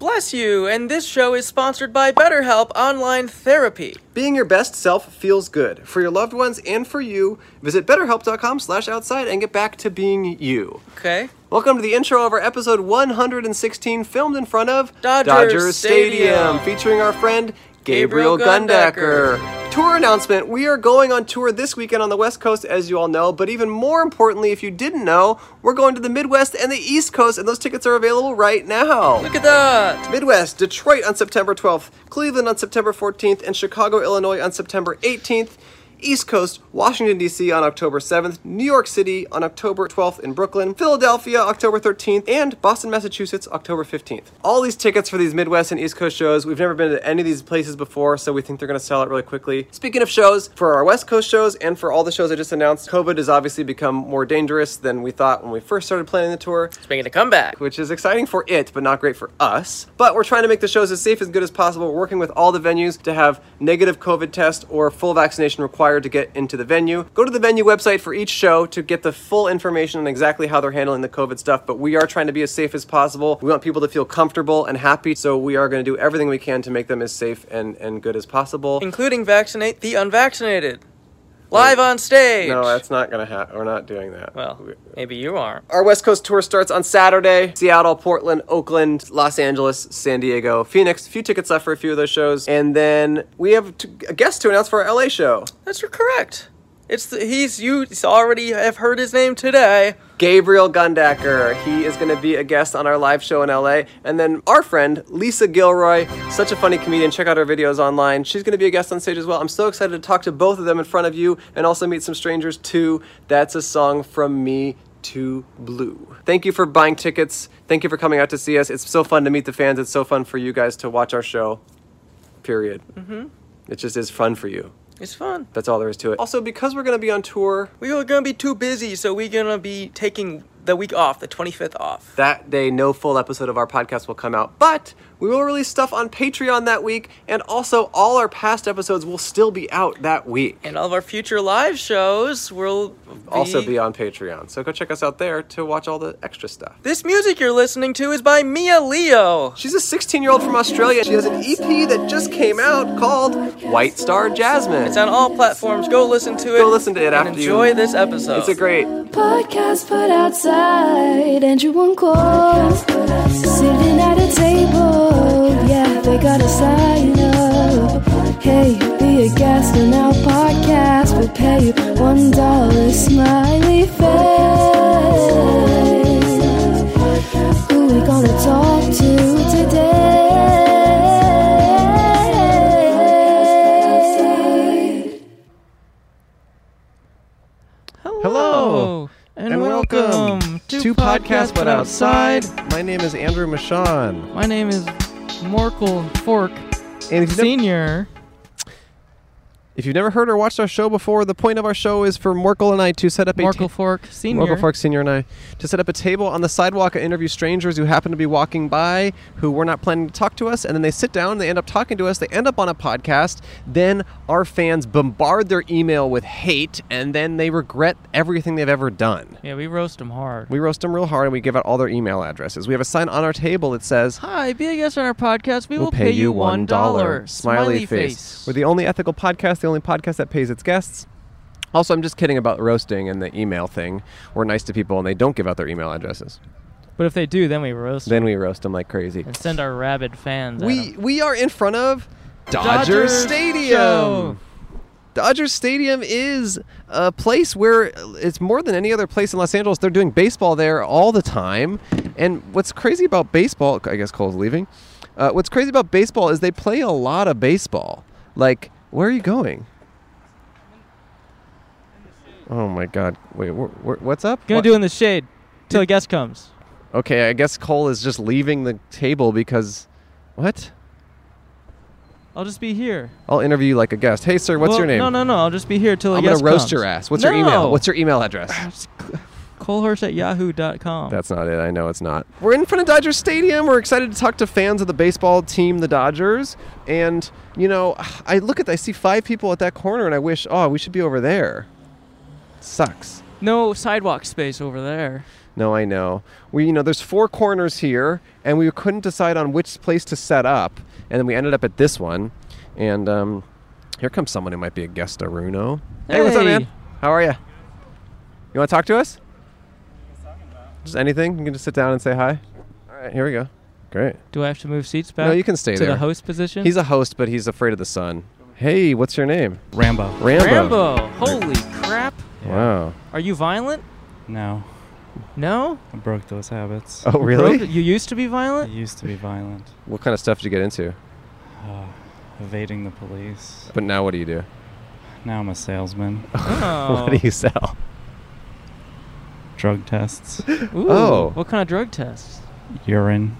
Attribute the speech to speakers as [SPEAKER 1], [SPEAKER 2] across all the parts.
[SPEAKER 1] Bless you, and this show is sponsored by BetterHelp Online Therapy.
[SPEAKER 2] Being your best self feels good for your loved ones and for you. Visit BetterHelp.com/outside and get back to being you.
[SPEAKER 1] Okay?
[SPEAKER 2] Welcome to the intro of our episode 116, filmed in front of
[SPEAKER 1] Dodger Stadium.
[SPEAKER 2] featuring our friend Gabriel,
[SPEAKER 1] Gabriel
[SPEAKER 2] Gundaker. Tour announcement We are going on tour this weekend on the West Coast, as you all know, but even more importantly, if you didn't know, we're going to the Midwest and the East Coast, and those tickets are available right now.
[SPEAKER 1] Look at that!
[SPEAKER 2] Midwest, Detroit on September 12th, Cleveland on September 14th, and Chicago, Illinois on September 18th. East Coast, Washington, D.C. on October 7th, New York City on October 12th in Brooklyn, Philadelphia October 13th, and Boston, Massachusetts October 15th. All these tickets for these Midwest and East Coast shows, we've never been to any of these places before, so we think they're going to sell out really quickly. Speaking of shows, for our West Coast shows and for all the shows I just announced, COVID has obviously become more dangerous than we thought when we first started planning the tour
[SPEAKER 1] It's making a comeback.
[SPEAKER 2] which is exciting for it, but not great for us. But we're trying to make the shows as safe and good as possible. We're working with all the venues to have negative COVID test or full vaccination required to get into the venue. Go to the venue website for each show to get the full information on exactly how they're handling the COVID stuff. But we are trying to be as safe as possible. We want people to feel comfortable and happy, so we are going to do everything we can to make them as safe and, and good as possible.
[SPEAKER 1] Including vaccinate the unvaccinated. Live on stage!
[SPEAKER 2] No, that's not going to happen. We're not doing that.
[SPEAKER 1] Well,
[SPEAKER 2] We-
[SPEAKER 1] maybe you aren't.
[SPEAKER 2] Our West Coast tour starts on Saturday. Seattle, Portland, Oakland, Los Angeles, San Diego, Phoenix. A few tickets left for a few of those shows. And then we have t- a guest to announce for our LA show.
[SPEAKER 1] That's you're correct. It's the, he's you already have heard his name today.
[SPEAKER 2] Gabriel Gundaker. He is going to be a guest on our live show in LA. And then our friend, Lisa Gilroy, such a funny comedian. Check out her videos online. She's going to be a guest on stage as well. I'm so excited to talk to both of them in front of you and also meet some strangers too. That's a song from me to blue. Thank you for buying tickets. Thank you for coming out to see us. It's so fun to meet the fans. It's so fun for you guys to watch our show, period. Mm-hmm. It just is fun for you.
[SPEAKER 1] It's fun.
[SPEAKER 2] That's all there is to it. Also, because we're going to be on tour,
[SPEAKER 1] We were gonna be too busy, so we're gonna be taking the week off, the 25th off.
[SPEAKER 2] That day, no full episode of our podcast will come out, but we will release stuff on Patreon that week, and also all our past episodes will still be out that week.
[SPEAKER 1] And all of our future live shows will
[SPEAKER 2] Also be on Patreon. So go check us out there to watch all the extra stuff.
[SPEAKER 1] This music you're listening to is by Mia Leo.
[SPEAKER 2] She's a 16 year old from Australia. She has an EP that just came out called White Star Jasmine.
[SPEAKER 1] It's on all platforms. Go listen to it.
[SPEAKER 2] Go listen to it
[SPEAKER 1] and
[SPEAKER 2] after you-
[SPEAKER 1] enjoy this episode.
[SPEAKER 2] It's a great.
[SPEAKER 3] Podcast put outside, Andrew and Cole sitting at a table. Yeah, they gotta sign up. Hey, be a guest on our podcast. We'll pay you one dollar. Smiley face. Who we gonna talk to today?
[SPEAKER 1] hello,
[SPEAKER 2] Hello,
[SPEAKER 1] and, welcome, to, podcast, but outside.
[SPEAKER 2] My name is Andrew Michon.
[SPEAKER 1] My name is Morkel Fork
[SPEAKER 2] And if
[SPEAKER 1] Senior.
[SPEAKER 2] If you've never heard or watched our show before, the point of our show is for Morkel and I to set up a
[SPEAKER 1] Morkel Fork Senior.
[SPEAKER 2] Morgan Fork Sr. and I to set up a table on the sidewalk and interview strangers who happen to be walking by who were not planning to talk to us. And then they sit down, they end up talking to us, they end up on a podcast. Then our fans bombard their email with hate, and then they regret everything they've ever done.
[SPEAKER 1] Yeah, we roast him hard.
[SPEAKER 2] We roast them real hard and we give out all their email addresses. We have a sign on our table that says,
[SPEAKER 1] Hi, be a guest on our podcast. We will pay, you one dollar.
[SPEAKER 2] Smiley face. We're the only ethical podcast, the only podcast that pays its guests. Also, I'm just kidding about roasting and the email thing. We're nice to people and they don't give out their email addresses.
[SPEAKER 4] But if they do, then we roast
[SPEAKER 2] Then we roast them like crazy.
[SPEAKER 4] and send our rabid fans.
[SPEAKER 2] We we are in front of Dodger,
[SPEAKER 4] Dodger
[SPEAKER 2] Stadium.
[SPEAKER 4] Show.
[SPEAKER 2] Dodger Stadium is a place where it's more than any other place in Los Angeles. They're doing baseball there all the time. And what's crazy about baseball, I guess Cole's leaving. Uh, what's crazy about baseball is they play a lot of baseball. Like, where are you going? Oh my God! Wait, wh- wh- what's up?
[SPEAKER 4] gonna
[SPEAKER 2] What-
[SPEAKER 4] do in the shade till a guest comes.
[SPEAKER 2] okay, I guess Cole is just leaving the table because, what?
[SPEAKER 4] I'll just be here.
[SPEAKER 2] I'll interview you like a guest. Hey, sir, what's
[SPEAKER 4] Well,
[SPEAKER 2] your name?
[SPEAKER 4] No, no, no. I'll just be here till a
[SPEAKER 2] I'm
[SPEAKER 4] guest
[SPEAKER 2] gonna roast
[SPEAKER 4] comes.
[SPEAKER 2] your ass. What's your
[SPEAKER 4] No.
[SPEAKER 2] email? What's your email address?
[SPEAKER 4] It's c- Colehurst at yahoo.com.
[SPEAKER 2] That's not it. I know it's not. We're in front of Dodger Stadium. We're excited to talk to fans of the baseball team, the Dodgers. And you know, I look at, I see five people at that corner, and I wish, oh, we should be over there. Sucks.
[SPEAKER 1] No sidewalk space over there.
[SPEAKER 2] No, I know. We, you know, there's four corners here, and we couldn't decide on which place to set up, and then we ended up at this one. And um, here comes someone who might be a guest Aruno. Hey, what's up, man?
[SPEAKER 1] Hey.
[SPEAKER 2] How are you? You want to talk to us? Just anything? You can just sit down and say hi. All right, here we go. Great.
[SPEAKER 1] Do I have to move seats back?
[SPEAKER 2] No, you can stay
[SPEAKER 1] to
[SPEAKER 2] there.
[SPEAKER 1] the host position.
[SPEAKER 2] He's a host, but he's afraid of the sun. Hey, what's your name?
[SPEAKER 5] Rambo.
[SPEAKER 2] Rambo.
[SPEAKER 1] Rambo. Holy crap!
[SPEAKER 2] Wow.
[SPEAKER 1] Are you violent?
[SPEAKER 5] No,
[SPEAKER 1] No.
[SPEAKER 5] I broke those habits.
[SPEAKER 2] Oh,
[SPEAKER 1] Bro,
[SPEAKER 2] really?
[SPEAKER 1] you used to be
[SPEAKER 5] I
[SPEAKER 1] violent.
[SPEAKER 5] used to be violent,
[SPEAKER 2] What kind of stuff did you get into?
[SPEAKER 5] uh, evading the police.
[SPEAKER 2] But now, what do you do?
[SPEAKER 5] Now I'm a salesman.
[SPEAKER 1] Oh.
[SPEAKER 2] What do you sell?
[SPEAKER 5] Drug tests,
[SPEAKER 1] Ooh,
[SPEAKER 2] Oh.
[SPEAKER 1] What kind of drug tests?
[SPEAKER 5] urine.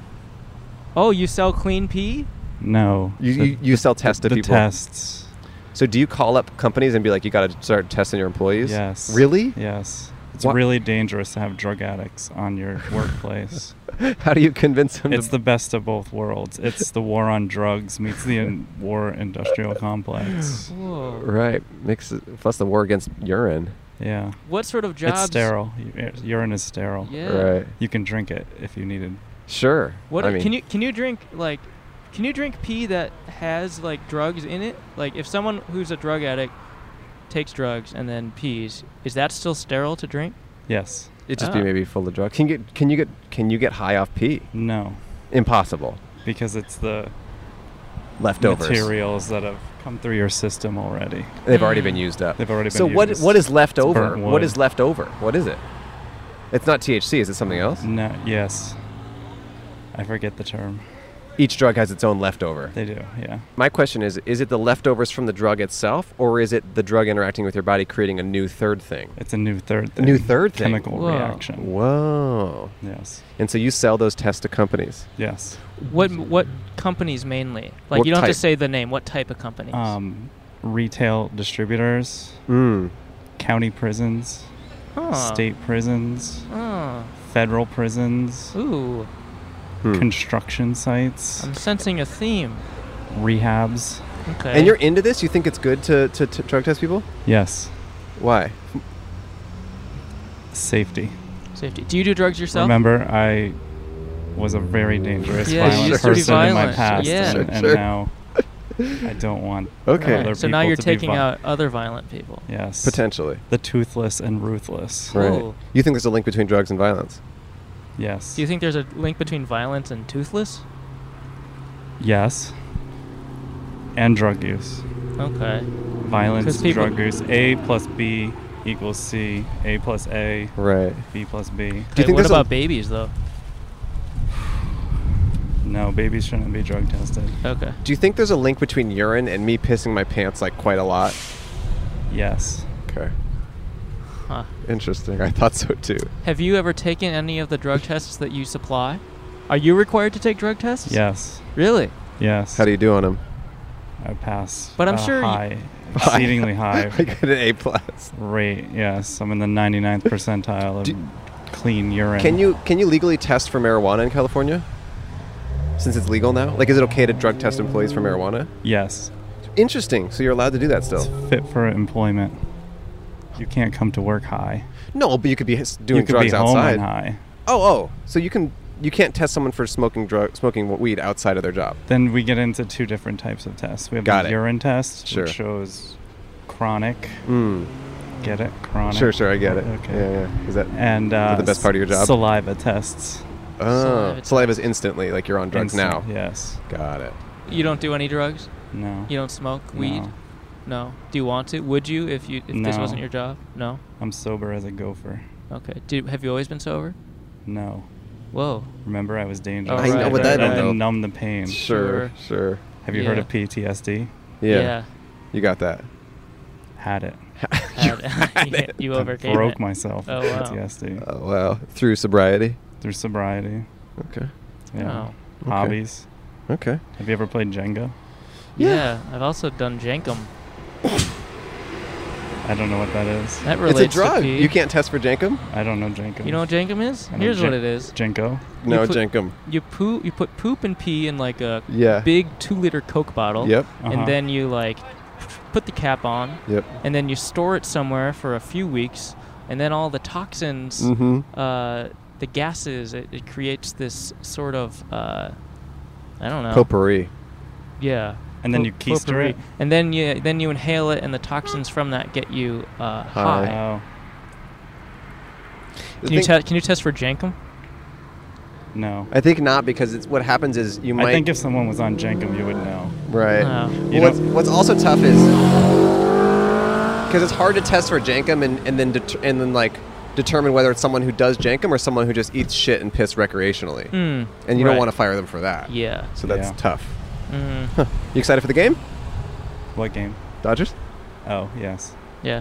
[SPEAKER 1] Oh, you sell clean pee?
[SPEAKER 5] No.
[SPEAKER 2] You,
[SPEAKER 5] the,
[SPEAKER 2] you, you sell tests to
[SPEAKER 5] the
[SPEAKER 2] people.
[SPEAKER 5] tests.
[SPEAKER 2] So do you call up companies and be like, you got to start testing your employees?
[SPEAKER 5] Yes.
[SPEAKER 2] Really?
[SPEAKER 5] Yes. It's
[SPEAKER 2] Wha-
[SPEAKER 5] really dangerous to have drug addicts on your workplace.
[SPEAKER 2] How do you convince them?
[SPEAKER 5] it's
[SPEAKER 2] to,
[SPEAKER 5] the best of both worlds. It's the war on drugs meets the in- war industrial complex.
[SPEAKER 1] Whoa.
[SPEAKER 2] right. Makes it, plus the war against urine.
[SPEAKER 5] Yeah.
[SPEAKER 1] What sort of jobs?
[SPEAKER 5] It's sterile. U- Urine is sterile.
[SPEAKER 1] Yeah.
[SPEAKER 2] Right.
[SPEAKER 5] You can drink it if you needed.
[SPEAKER 2] Sure.
[SPEAKER 1] What
[SPEAKER 2] I mean,
[SPEAKER 1] can you can you drink like can you drink pee that has like drugs in it? Like if someone who's a drug addict takes drugs and then pees, is that still sterile to drink?
[SPEAKER 5] Yes.
[SPEAKER 2] It just be
[SPEAKER 1] Ah.
[SPEAKER 2] maybe full of drugs. Can you get? Can you get? Can you get high off pee?
[SPEAKER 5] No.
[SPEAKER 2] Impossible.
[SPEAKER 5] Because it's the
[SPEAKER 2] Leftovers.
[SPEAKER 5] materials that have come through your system already.
[SPEAKER 2] They've already been used up.
[SPEAKER 5] They've already
[SPEAKER 2] so
[SPEAKER 5] been
[SPEAKER 2] what?
[SPEAKER 5] used.
[SPEAKER 2] What is left
[SPEAKER 5] It's
[SPEAKER 2] over?
[SPEAKER 5] burnt
[SPEAKER 2] What
[SPEAKER 5] wood.
[SPEAKER 2] is left over? What is it? It's not THC. Is it something else?
[SPEAKER 5] No. Yes. I forget the term.
[SPEAKER 2] Each drug has its own leftover.
[SPEAKER 5] They do. Yeah.
[SPEAKER 2] My question is: Is it the leftovers from the drug itself, or is it the drug interacting with your body, creating a new third thing?
[SPEAKER 5] It's a new third
[SPEAKER 2] A
[SPEAKER 5] thing.
[SPEAKER 2] new third thing.
[SPEAKER 5] Chemical
[SPEAKER 1] Whoa.
[SPEAKER 5] reaction.
[SPEAKER 2] Whoa.
[SPEAKER 5] Yes.
[SPEAKER 2] And so you sell those tests to companies.
[SPEAKER 5] Yes.
[SPEAKER 1] What what companies mainly? Like
[SPEAKER 2] What
[SPEAKER 1] you don't have
[SPEAKER 2] type?
[SPEAKER 1] to say the name. What type of companies?
[SPEAKER 5] Um, retail distributors,
[SPEAKER 2] Mm.
[SPEAKER 5] county prisons,
[SPEAKER 1] Huh.
[SPEAKER 5] state prisons,
[SPEAKER 1] Huh.
[SPEAKER 5] federal prisons,
[SPEAKER 1] Ooh,
[SPEAKER 2] Hmm.
[SPEAKER 1] Um.
[SPEAKER 5] construction sites,
[SPEAKER 1] I'm sensing a theme.
[SPEAKER 5] rehabs.
[SPEAKER 1] Okay.
[SPEAKER 2] And you're into this? You think it's good to, to, to drug test people?
[SPEAKER 5] Yes.
[SPEAKER 2] Why?
[SPEAKER 5] Safety.
[SPEAKER 1] safety. Do you do drugs yourself?
[SPEAKER 5] Remember, I was a very dangerous,
[SPEAKER 1] Yeah, you
[SPEAKER 5] violent
[SPEAKER 2] used to be
[SPEAKER 5] person in my
[SPEAKER 1] violent.
[SPEAKER 5] past,
[SPEAKER 1] Yeah.
[SPEAKER 5] and,
[SPEAKER 2] Sure,
[SPEAKER 5] and
[SPEAKER 2] sure.
[SPEAKER 5] now I don't want.
[SPEAKER 2] Okay.
[SPEAKER 5] other
[SPEAKER 1] Right, So now
[SPEAKER 5] people
[SPEAKER 1] you're
[SPEAKER 5] to be
[SPEAKER 1] taking
[SPEAKER 5] vi-
[SPEAKER 1] out other violent people.
[SPEAKER 5] Yes.
[SPEAKER 2] Potentially.
[SPEAKER 5] The toothless and ruthless.
[SPEAKER 1] Right.
[SPEAKER 2] Right.
[SPEAKER 1] Cool.
[SPEAKER 2] You think there's a link between drugs and violence?
[SPEAKER 5] Yes.
[SPEAKER 1] Do you think there's a link between violence and toothless?
[SPEAKER 5] yes. And drug use.
[SPEAKER 1] Okay.
[SPEAKER 5] Violence,
[SPEAKER 1] 'Cause people-
[SPEAKER 5] drug use. A plus B equals C. A plus A,
[SPEAKER 2] Right.
[SPEAKER 5] B plus B.
[SPEAKER 2] Do you
[SPEAKER 1] Okay,
[SPEAKER 2] think
[SPEAKER 1] what
[SPEAKER 2] there's a-
[SPEAKER 1] about babies though?
[SPEAKER 5] No, babies shouldn't be drug tested.
[SPEAKER 1] Okay.
[SPEAKER 2] Do you think there's a link between urine and me pissing my pants like quite a lot?
[SPEAKER 5] Yes.
[SPEAKER 2] Okay.
[SPEAKER 1] Huh.
[SPEAKER 2] Interesting. I thought so too.
[SPEAKER 1] Have you ever taken any of the drug tests that you supply? Are you required to take drug tests?
[SPEAKER 5] Yes.
[SPEAKER 1] Really?
[SPEAKER 5] Yes.
[SPEAKER 2] How do you do on them?
[SPEAKER 5] I pass.
[SPEAKER 1] But I'm
[SPEAKER 5] uh,
[SPEAKER 1] sure you-
[SPEAKER 5] high, exceedingly high
[SPEAKER 2] I got an A plus.
[SPEAKER 5] rate. Yes, I'm in the 99th percentile of
[SPEAKER 2] Do-
[SPEAKER 5] clean urine.
[SPEAKER 2] Can you can you legally test for marijuana in California? Since it's legal now, like, is it okay to drug test employees for marijuana?
[SPEAKER 5] Yes,
[SPEAKER 2] Interesting. So you're allowed to do that still?
[SPEAKER 5] fit for employment. You can't come to work high.
[SPEAKER 2] No, but you could be s- doing
[SPEAKER 5] you could
[SPEAKER 2] drugs
[SPEAKER 5] be home
[SPEAKER 2] outside.
[SPEAKER 5] and high.
[SPEAKER 2] Oh, oh. So you can you can't test someone for smoking drug smoking weed outside of their job.
[SPEAKER 5] Then we get into two different types of tests. We have
[SPEAKER 2] Got
[SPEAKER 5] the
[SPEAKER 2] it.
[SPEAKER 5] urine test,
[SPEAKER 2] Sure.
[SPEAKER 5] which shows chronic.
[SPEAKER 2] Mm.
[SPEAKER 5] Get it? Chronic.
[SPEAKER 2] Sure, sure. I get it.
[SPEAKER 5] Okay.
[SPEAKER 2] Yeah, yeah. Is that?
[SPEAKER 5] And uh,
[SPEAKER 2] the best part of your job?
[SPEAKER 5] Saliva tests.
[SPEAKER 2] Oh,
[SPEAKER 1] Saliva.
[SPEAKER 2] saliva's instantly like you're on drugs
[SPEAKER 5] Instant-
[SPEAKER 2] now.
[SPEAKER 5] Yes.
[SPEAKER 2] Got it.
[SPEAKER 1] You don't do any drugs?
[SPEAKER 5] No.
[SPEAKER 1] You don't smoke weed?
[SPEAKER 5] No.
[SPEAKER 1] No. Do you want to? Would you if you if this
[SPEAKER 5] No.
[SPEAKER 1] wasn't your job? No.
[SPEAKER 5] I'm sober as a gopher.
[SPEAKER 1] Okay. Do have you always been sober?
[SPEAKER 5] No.
[SPEAKER 1] Whoa.
[SPEAKER 5] Remember, I was dangerous.
[SPEAKER 1] I know, Oh, Right, but right, I don't
[SPEAKER 5] And
[SPEAKER 2] know.
[SPEAKER 5] numb the pain.
[SPEAKER 1] Sure.
[SPEAKER 2] Sure, sure.
[SPEAKER 5] Have you heard
[SPEAKER 1] Yeah.
[SPEAKER 5] of PTSD?
[SPEAKER 2] Yeah, you got that.
[SPEAKER 5] Had it.
[SPEAKER 1] Yeah. you, you overcame
[SPEAKER 5] Broke
[SPEAKER 1] it.
[SPEAKER 5] myself with
[SPEAKER 1] Oh, wow.
[SPEAKER 5] PTSD
[SPEAKER 2] Oh wow. Through sobriety.
[SPEAKER 5] through sobriety.
[SPEAKER 2] Okay.
[SPEAKER 5] Yeah.
[SPEAKER 1] Oh.
[SPEAKER 2] Okay.
[SPEAKER 5] Hobbies.
[SPEAKER 2] Okay.
[SPEAKER 5] Have you ever played Jenga?
[SPEAKER 2] Yeah.
[SPEAKER 1] Yeah. I've also done jankum.
[SPEAKER 5] I don't know what that is.
[SPEAKER 1] That
[SPEAKER 2] It's a
[SPEAKER 1] relates to
[SPEAKER 2] drug.
[SPEAKER 1] pee.
[SPEAKER 2] You can't test for jankum.
[SPEAKER 5] I don't know Jenga.
[SPEAKER 1] You know what jankum is?
[SPEAKER 5] I know
[SPEAKER 1] Here's what
[SPEAKER 5] Jan-
[SPEAKER 1] it is.
[SPEAKER 5] Jenko.
[SPEAKER 2] No
[SPEAKER 1] put-
[SPEAKER 2] jankum.
[SPEAKER 1] You poo you put poop and pee in like a
[SPEAKER 2] Yeah.
[SPEAKER 1] big 2-liter Coke bottle.
[SPEAKER 2] Yep.
[SPEAKER 5] Uh-huh.
[SPEAKER 1] And then you like put the cap on
[SPEAKER 2] Yep.
[SPEAKER 1] and then you store it somewhere for a few weeks and then all the toxins,
[SPEAKER 2] Mm-hmm.
[SPEAKER 6] Mhm.
[SPEAKER 1] uh, the gases, it, it creates this sort of uh, I don't know.
[SPEAKER 2] Potpourri.
[SPEAKER 1] Yeah.
[SPEAKER 5] And then
[SPEAKER 1] Pot-
[SPEAKER 5] you keister
[SPEAKER 1] potpourri.
[SPEAKER 5] it?
[SPEAKER 1] And then you then you inhale it, and the toxins from that get you uh,
[SPEAKER 2] High.
[SPEAKER 1] high.
[SPEAKER 5] Oh
[SPEAKER 1] Can you, te- can you test for jankum?
[SPEAKER 5] no.
[SPEAKER 2] I think not because it's what happens is you might
[SPEAKER 5] I think if someone was on Jenkum, you would know.
[SPEAKER 2] right.
[SPEAKER 1] No.
[SPEAKER 5] You
[SPEAKER 2] Well, what's,
[SPEAKER 5] don't-
[SPEAKER 2] what's also tough is because it's hard to test for jankum and, and then det- and then like determine whether it's someone who does jankum or someone who just eats shit and piss recreationally,
[SPEAKER 1] Mm,
[SPEAKER 2] and you
[SPEAKER 1] right.
[SPEAKER 2] don't want to fire them for that.
[SPEAKER 1] Yeah.
[SPEAKER 2] So that's
[SPEAKER 5] Yeah.
[SPEAKER 2] tough.
[SPEAKER 1] Mm,
[SPEAKER 2] You excited for the game,
[SPEAKER 5] What game?
[SPEAKER 2] Dodgers?
[SPEAKER 5] Oh yes.
[SPEAKER 1] yeah.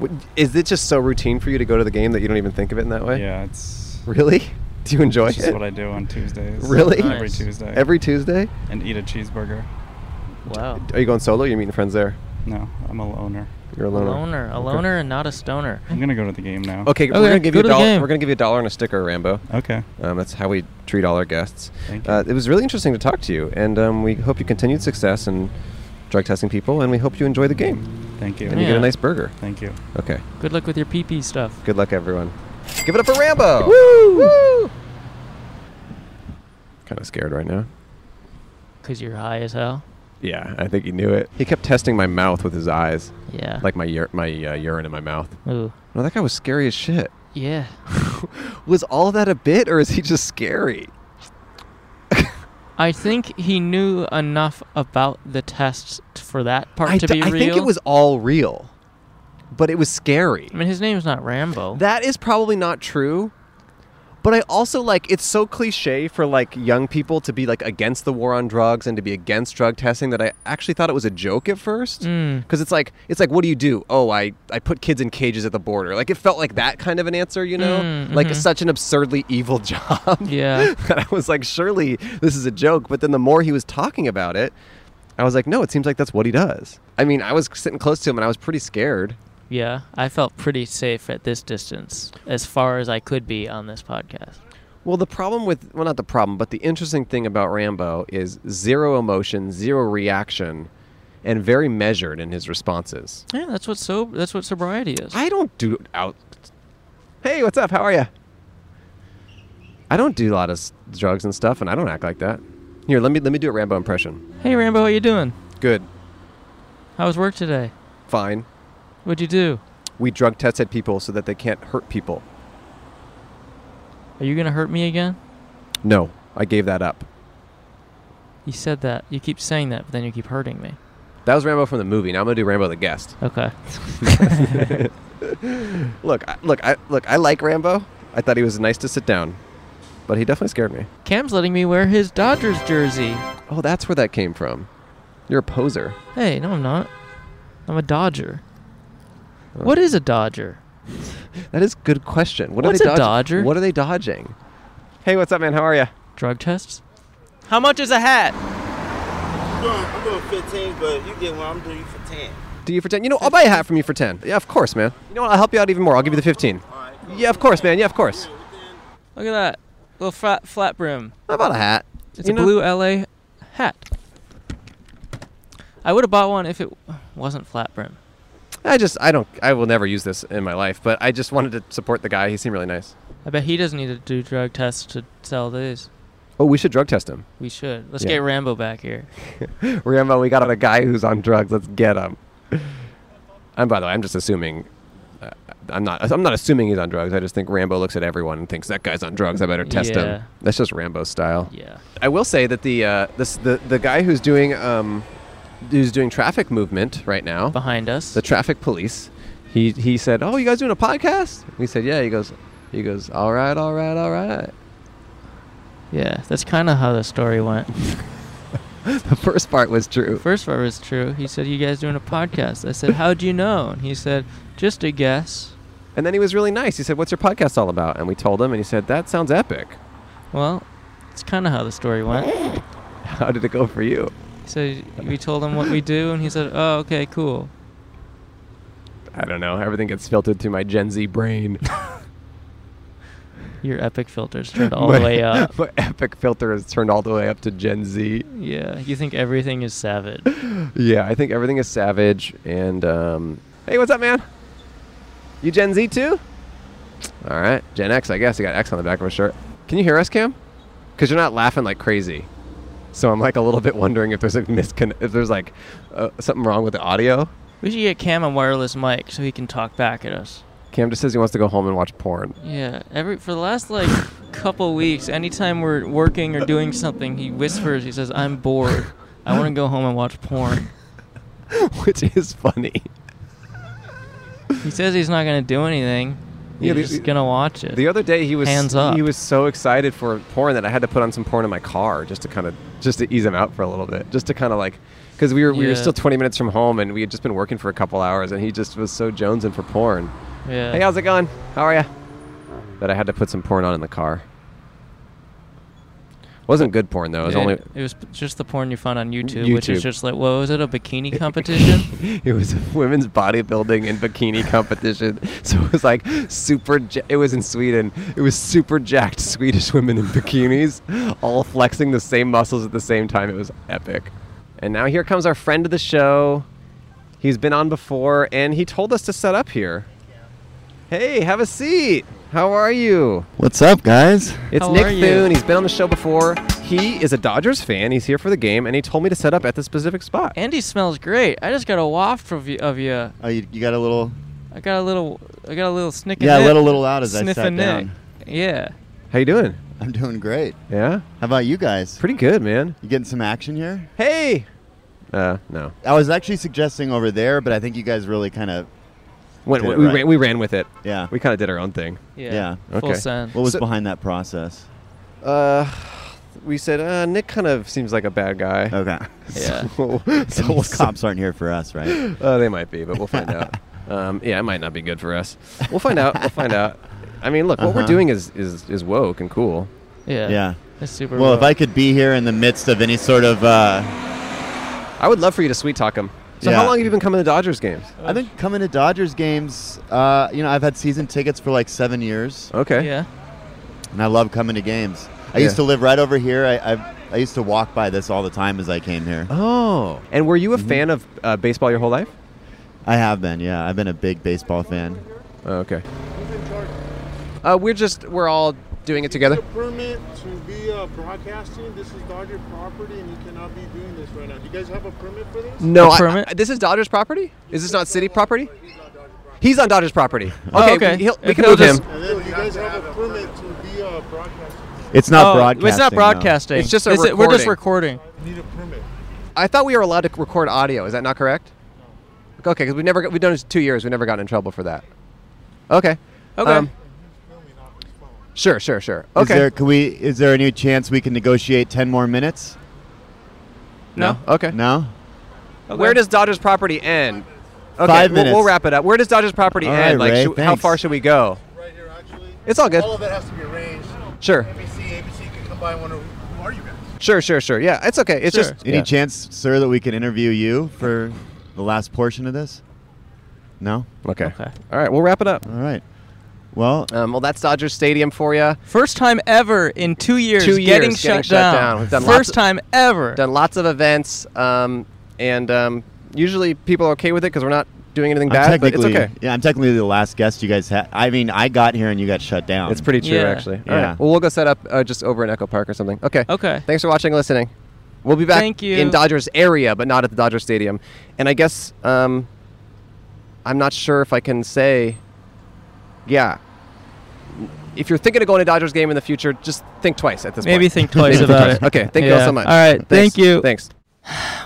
[SPEAKER 2] W- Is it just so routine for you to go to the game that you don't even think of it in that way?
[SPEAKER 5] Yeah, it's
[SPEAKER 2] Really? Do you enjoy
[SPEAKER 5] it's just
[SPEAKER 2] it?
[SPEAKER 5] what I do on Tuesdays.
[SPEAKER 2] Really?
[SPEAKER 5] Every
[SPEAKER 1] Nice.
[SPEAKER 5] Tuesday.
[SPEAKER 2] Every Tuesday?
[SPEAKER 5] and eat a cheeseburger.
[SPEAKER 1] Wow.
[SPEAKER 2] Are you going solo? You're meeting friends there.
[SPEAKER 5] No, I'm a loner.
[SPEAKER 2] You're alone.
[SPEAKER 1] Loner, a loner, and not a stoner.
[SPEAKER 2] Mm-hmm.
[SPEAKER 5] I'm gonna go to the game now.
[SPEAKER 2] Okay, we're
[SPEAKER 1] Okay,
[SPEAKER 2] gonna give
[SPEAKER 1] go
[SPEAKER 2] you
[SPEAKER 1] to
[SPEAKER 2] a
[SPEAKER 1] the
[SPEAKER 2] dollar.
[SPEAKER 1] game.
[SPEAKER 2] We're gonna give you a dollar and a sticker, Rambo.
[SPEAKER 5] Okay.
[SPEAKER 2] Um, that's how we treat all our guests.
[SPEAKER 5] Thank you.
[SPEAKER 2] Uh, it was really interesting to talk to you, and um, we hope you continued success in drug testing people, and we hope you enjoy the game
[SPEAKER 5] Thank you.
[SPEAKER 2] and you get a
[SPEAKER 1] Yeah.
[SPEAKER 2] nice burger.
[SPEAKER 5] Thank you.
[SPEAKER 2] Okay,
[SPEAKER 1] Good luck with your pee pee stuff.
[SPEAKER 2] good luck, everyone. Give it up for Rambo! Kind of scared right now.
[SPEAKER 1] Cause you're high as hell.
[SPEAKER 2] Yeah, I think he knew it. He kept testing my mouth with his eyes,
[SPEAKER 1] Yeah.
[SPEAKER 2] like my ur- my uh, urine in my mouth.
[SPEAKER 1] Ooh.
[SPEAKER 2] No, that guy was scary as shit.
[SPEAKER 1] Yeah.
[SPEAKER 2] was all that a bit, or is he just scary?
[SPEAKER 1] I think he knew enough about the tests t- for that part
[SPEAKER 2] I
[SPEAKER 1] to
[SPEAKER 2] d-
[SPEAKER 1] be
[SPEAKER 2] I
[SPEAKER 1] real.
[SPEAKER 2] think it was all real, but it was scary.
[SPEAKER 1] I mean, his name's not Rambo.
[SPEAKER 2] That is probably not true. But I also like it's so cliche for like young people to be like against the war on drugs and to be against drug testing that I actually thought it was a joke at first.
[SPEAKER 1] Mm.
[SPEAKER 2] Cuz it's like it's like what do you do? Oh, I I put kids in cages at the border. Like it felt like that kind of an answer, you know?
[SPEAKER 1] Mm,
[SPEAKER 2] Like
[SPEAKER 1] mhm.
[SPEAKER 2] it's such an absurdly evil job.
[SPEAKER 1] Yeah.
[SPEAKER 2] that I was like surely this is a joke, but then the more he was talking about it, I was like no, it seems like that's what he does. I mean, I was sitting close to him and I was pretty scared.
[SPEAKER 1] yeah. I felt pretty safe at this distance, as far as I could be on this podcast.
[SPEAKER 2] Well, the problem with well, not the problem, but the interesting thing about Rambo is zero emotion, zero reaction, and very measured in his responses.
[SPEAKER 1] Yeah, that's what so that's what sobriety is.
[SPEAKER 2] I don't do out. Hey, what's up? How are you? I don't do a lot of s- drugs and stuff, and I don't act like that. Here, let me let me do a Rambo impression.
[SPEAKER 1] hey Rambo, how you doing?
[SPEAKER 2] Good,
[SPEAKER 1] How was work today?
[SPEAKER 2] fine.
[SPEAKER 1] What'd you do?
[SPEAKER 2] We drug tested people so that they can't hurt people.
[SPEAKER 1] Are you gonna hurt me again?
[SPEAKER 2] No, I gave that up.
[SPEAKER 1] You said that. You keep saying that, but then you keep hurting me.
[SPEAKER 2] That was Rambo from the movie. Now I'm gonna do Rambo the guest.
[SPEAKER 1] Okay.
[SPEAKER 2] Look, I, look, I look. I like Rambo. I thought he was nice to sit down, but he definitely scared me.
[SPEAKER 1] Cam's letting me wear his Dodgers jersey.
[SPEAKER 2] Oh, that's where that came from. You're a poser.
[SPEAKER 1] Hey, no, I'm not. I'm a Dodger. What is a Dodger?
[SPEAKER 2] That is a good question. What
[SPEAKER 1] What's
[SPEAKER 2] are
[SPEAKER 1] a
[SPEAKER 2] they dodg-
[SPEAKER 1] dodger?
[SPEAKER 2] What are they dodging? Hey, what's up, man? How are you?
[SPEAKER 1] Drug tests? How much is a hat?
[SPEAKER 7] I'm doing 15, but you get one, I'm doing you for 10.
[SPEAKER 2] Do you for ten? You know, I'll buy a hat from you for ten. Yeah, of course, man. You know what? I'll help you out even more. I'll give you the fifteen. Yeah, of course, man. Yeah, of course.
[SPEAKER 1] Look at that. Little flat, flat brim.
[SPEAKER 2] I bought a hat.
[SPEAKER 1] It's
[SPEAKER 2] You
[SPEAKER 1] a
[SPEAKER 2] know-
[SPEAKER 1] blue LA hat. I would have bought one if it wasn't flat brim.
[SPEAKER 2] I just, I don't, I will never use this in my life. But I just wanted to support the guy. He seemed really nice.
[SPEAKER 1] I bet he doesn't need to do drug tests to sell these.
[SPEAKER 2] Oh, we should drug test him.
[SPEAKER 1] We should. Let's
[SPEAKER 2] Yeah.
[SPEAKER 1] get Rambo back here.
[SPEAKER 2] Rambo, we got a guy who's on drugs. Let's get him. And by the way, I'm just assuming. Uh, I'm not. I'm not assuming he's on drugs. I just think Rambo looks at everyone and thinks that guy's on drugs. I better test
[SPEAKER 1] Yeah.
[SPEAKER 2] him. That's just Rambo style.
[SPEAKER 1] Yeah.
[SPEAKER 2] I will say that the uh, this the the guy who's doing um, who's doing traffic movement right now,
[SPEAKER 1] Behind us.
[SPEAKER 2] the traffic police. He he said, "Oh, you guys doing a podcast?" We said, "Yeah." He goes, he goes, "All right, all right, all right."
[SPEAKER 1] yeah, that's kind of how the story went.
[SPEAKER 2] The first part was true.
[SPEAKER 1] First part was true. He said, "You guys doing a podcast?" I said, "How'd you know?" And he said, "Just a guess."
[SPEAKER 2] And then he was really nice. He said, "What's your podcast all about?" And we told him, and he said, "That sounds epic."
[SPEAKER 1] Well, it's kind of how the story went.
[SPEAKER 2] How did it go for you?
[SPEAKER 1] So we told him what we do, and he said, "Oh, okay, cool."
[SPEAKER 2] I don't know. Everything gets filtered through my Gen Z brain.
[SPEAKER 1] Your epic filter's turned all the
[SPEAKER 2] My-
[SPEAKER 1] way up.
[SPEAKER 2] My epic filter is turned all the way up to Gen Z.
[SPEAKER 1] Yeah, you think everything is savage.
[SPEAKER 2] Yeah, I think everything is savage. And um, hey, what's up, man? You Gen Z too? All right, Gen X, I guess. You got X on the back of a shirt. Can you hear us, Cam? Because you're not laughing like crazy. So I'm like a little bit wondering if there's a miscon if there's like uh, something wrong with the audio.
[SPEAKER 1] We should get Cam a wireless mic so he can talk back at us.
[SPEAKER 2] Cam just says he wants to go home and watch porn.
[SPEAKER 1] Yeah, every for the last like couple weeks, anytime we're working or doing something, he whispers. He says, "I'm bored. I want to go home and watch porn."
[SPEAKER 2] which is funny.
[SPEAKER 1] He says he's not gonna do anything. He's
[SPEAKER 2] Yeah, the-
[SPEAKER 1] just gonna watch it.
[SPEAKER 2] The other day he was
[SPEAKER 1] Hands up.
[SPEAKER 2] he was so excited for porn that I had to put on some porn in my car just to kind of just to ease him out for a little bit, just to kind of like because we were we were
[SPEAKER 1] Yeah.
[SPEAKER 2] still 20 minutes from home and we had just been working for a couple hours and he just was so jonesing for porn.
[SPEAKER 1] yeah.
[SPEAKER 2] Hey, how's it going? How are ya? That I had to put some porn on in the car. Wasn't good porn though. It was
[SPEAKER 1] it,
[SPEAKER 2] only
[SPEAKER 1] it was just the porn you found on YouTube, which
[SPEAKER 2] YouTube.
[SPEAKER 1] is just like, what was it? A bikini competition?
[SPEAKER 2] it was a women's bodybuilding and bikini competition. So it was like super. Ja- it was in Sweden. It was super jacked Swedish women in bikinis, all flexing the same muscles at the same time. It was epic. And now here comes our friend of the show. He's been on before, and he told us to set up here. Hey, have a seat. How are you?
[SPEAKER 8] What's up, guys?
[SPEAKER 2] It's
[SPEAKER 1] How
[SPEAKER 2] Nick
[SPEAKER 1] are you?
[SPEAKER 2] Thune. He's been on the show before. He is a Dodgers fan. He's here for the game, and he told me to set up at this specific spot.
[SPEAKER 1] Andy smells great. I just got a waft of you. Of you.
[SPEAKER 8] Oh, you, you got a little,
[SPEAKER 1] I got a little. I got a little snick.
[SPEAKER 8] yeah, a little, little out as I sat
[SPEAKER 1] Sniffing
[SPEAKER 8] down.
[SPEAKER 1] Yeah.
[SPEAKER 2] How you doing?
[SPEAKER 8] I'm doing great.
[SPEAKER 2] Yeah,
[SPEAKER 8] How about you guys?
[SPEAKER 2] pretty good, man.
[SPEAKER 8] You getting some action here?
[SPEAKER 2] Hey. Uh, no.
[SPEAKER 8] I was actually suggesting over there, but I think you guys really kind of,
[SPEAKER 2] When,
[SPEAKER 8] Did
[SPEAKER 2] we,
[SPEAKER 8] it right.
[SPEAKER 2] ran, we ran with it. Uh.
[SPEAKER 8] yeah.
[SPEAKER 2] We kind of did our own thing.
[SPEAKER 1] Yeah.
[SPEAKER 8] Yeah.
[SPEAKER 1] Full
[SPEAKER 2] Okay.
[SPEAKER 1] send.
[SPEAKER 8] What was
[SPEAKER 2] So-
[SPEAKER 8] behind that process?
[SPEAKER 2] Uh, we said uh, Nick kind of seems like a bad guy.
[SPEAKER 8] Okay.
[SPEAKER 1] Yeah.
[SPEAKER 2] So, so
[SPEAKER 8] And
[SPEAKER 2] we'll
[SPEAKER 8] these cops aren't here for us, right?
[SPEAKER 2] Uh, they might be, but we'll find out. Um, yeah, it might not be good for us. We'll find out. We'll find out. I mean, look, what we're
[SPEAKER 8] Uh-huh.
[SPEAKER 2] doing is, is is woke and cool.
[SPEAKER 1] Yeah.
[SPEAKER 8] yeah.
[SPEAKER 1] It's super.
[SPEAKER 8] Well, if
[SPEAKER 1] rough.
[SPEAKER 8] I could be here in the midst of any sort of, uh,
[SPEAKER 2] I would love for you to sweet talk him. So,
[SPEAKER 8] Yeah.
[SPEAKER 2] how long have you been coming to Dodgers games?
[SPEAKER 8] I've been coming to Dodgers games. Uh, you know, I've had season tickets for like seven years.
[SPEAKER 2] Okay.
[SPEAKER 1] Yeah.
[SPEAKER 8] and I love coming to games. I
[SPEAKER 2] Yeah.
[SPEAKER 8] used to live right over here. I, I I used to walk by this all the time as I came here.
[SPEAKER 2] Oh. And were you a fan of uh, baseball your whole life?
[SPEAKER 8] I have been, yeah. I've been a big baseball fan.
[SPEAKER 2] Oh, okay. Uh, we're just we're all doing it together.
[SPEAKER 9] Get a permit to be uh, broadcasting. This is Dodger property, and you cannot be doing this right now. Do you guys have a permit for this?
[SPEAKER 2] No,
[SPEAKER 1] A
[SPEAKER 2] I-
[SPEAKER 1] permit?
[SPEAKER 2] I- this is Dodgers property. Is this not city property? He's on Dodgers property. Okay,
[SPEAKER 1] Oh, okay.
[SPEAKER 2] We, he'll- we
[SPEAKER 1] If
[SPEAKER 2] can
[SPEAKER 1] he'll
[SPEAKER 2] move him.
[SPEAKER 1] just-
[SPEAKER 9] And then you guys have a permit to be uh, broadcasting.
[SPEAKER 8] It's not
[SPEAKER 1] Oh,
[SPEAKER 8] broadcasting.
[SPEAKER 1] It's not
[SPEAKER 8] though.
[SPEAKER 1] broadcasting.
[SPEAKER 2] It's just a
[SPEAKER 1] it- We're just recording.
[SPEAKER 9] You need a permit.
[SPEAKER 2] I thought we were allowed to record audio. Is that not correct? Okay, because we never got- we've done it two years. We never got in trouble for that. Okay.
[SPEAKER 1] Okay.
[SPEAKER 2] Um,
[SPEAKER 9] Filming off his phone.
[SPEAKER 2] sure, sure, sure.
[SPEAKER 8] Is
[SPEAKER 2] Okay.
[SPEAKER 8] there can we is there any chance we can negotiate 10 more minutes?
[SPEAKER 1] No.
[SPEAKER 2] okay.
[SPEAKER 8] No?
[SPEAKER 2] Where does Dodgers property end? Okay,
[SPEAKER 8] Five
[SPEAKER 2] we'll- We'll,
[SPEAKER 8] minutes.
[SPEAKER 2] wrap it up. Where does Dodgers property
[SPEAKER 8] All
[SPEAKER 2] end?
[SPEAKER 8] right,
[SPEAKER 2] like,
[SPEAKER 8] Ray,
[SPEAKER 2] should- how
[SPEAKER 8] thanks.
[SPEAKER 2] far should we go?
[SPEAKER 9] Right here, actually.
[SPEAKER 2] It's all good.
[SPEAKER 9] All of that has to be arranged.
[SPEAKER 2] Sure,
[SPEAKER 9] ABC, ABC can come by and wonder who are you guys?
[SPEAKER 2] sure, sure, sure. Yeah, it's okay. It's
[SPEAKER 1] Sure.
[SPEAKER 2] just
[SPEAKER 8] Any
[SPEAKER 2] yeah.
[SPEAKER 8] chance, sir, that we can interview you for the last portion of this? No?
[SPEAKER 2] Okay.
[SPEAKER 1] Okay.
[SPEAKER 2] All right, we'll wrap it up.
[SPEAKER 8] All right. Well,
[SPEAKER 2] Um, well, that's Dodgers Stadium for you.
[SPEAKER 1] First time ever in two years.
[SPEAKER 2] Two years
[SPEAKER 1] getting,
[SPEAKER 2] getting
[SPEAKER 1] shut,
[SPEAKER 2] shut
[SPEAKER 1] down.
[SPEAKER 2] down. We've done lots
[SPEAKER 1] First
[SPEAKER 2] of-
[SPEAKER 1] time ever.
[SPEAKER 2] done lots of events, um, and um, usually people are okay with it because we're not doing anything
[SPEAKER 8] I'm
[SPEAKER 2] bad. But it's
[SPEAKER 8] technically
[SPEAKER 2] okay.
[SPEAKER 8] Yeah, I'm technically the last guest you guys had. I mean, I got here and you got shut down.
[SPEAKER 2] It's pretty true,
[SPEAKER 1] Yeah.
[SPEAKER 2] actually. All right.
[SPEAKER 8] Yeah.
[SPEAKER 2] Well, we'll go set up uh, just over in Echo Park or something. Okay.
[SPEAKER 1] Okay.
[SPEAKER 2] Thanks for watching and listening. We'll be back
[SPEAKER 1] Thank you.
[SPEAKER 2] in Dodgers area, but not at the Dodger Stadium. And I guess um, I'm not sure if I can say, yeah. If you're thinking of going to Dodgers game in the future, just think twice at this
[SPEAKER 1] Maybe
[SPEAKER 2] point.
[SPEAKER 1] think twice
[SPEAKER 2] Maybe think
[SPEAKER 1] about it.
[SPEAKER 2] twice. Okay, thank you all
[SPEAKER 1] Yeah.
[SPEAKER 2] so much.
[SPEAKER 1] All right,
[SPEAKER 2] Thanks.
[SPEAKER 1] thank you.
[SPEAKER 2] Thanks.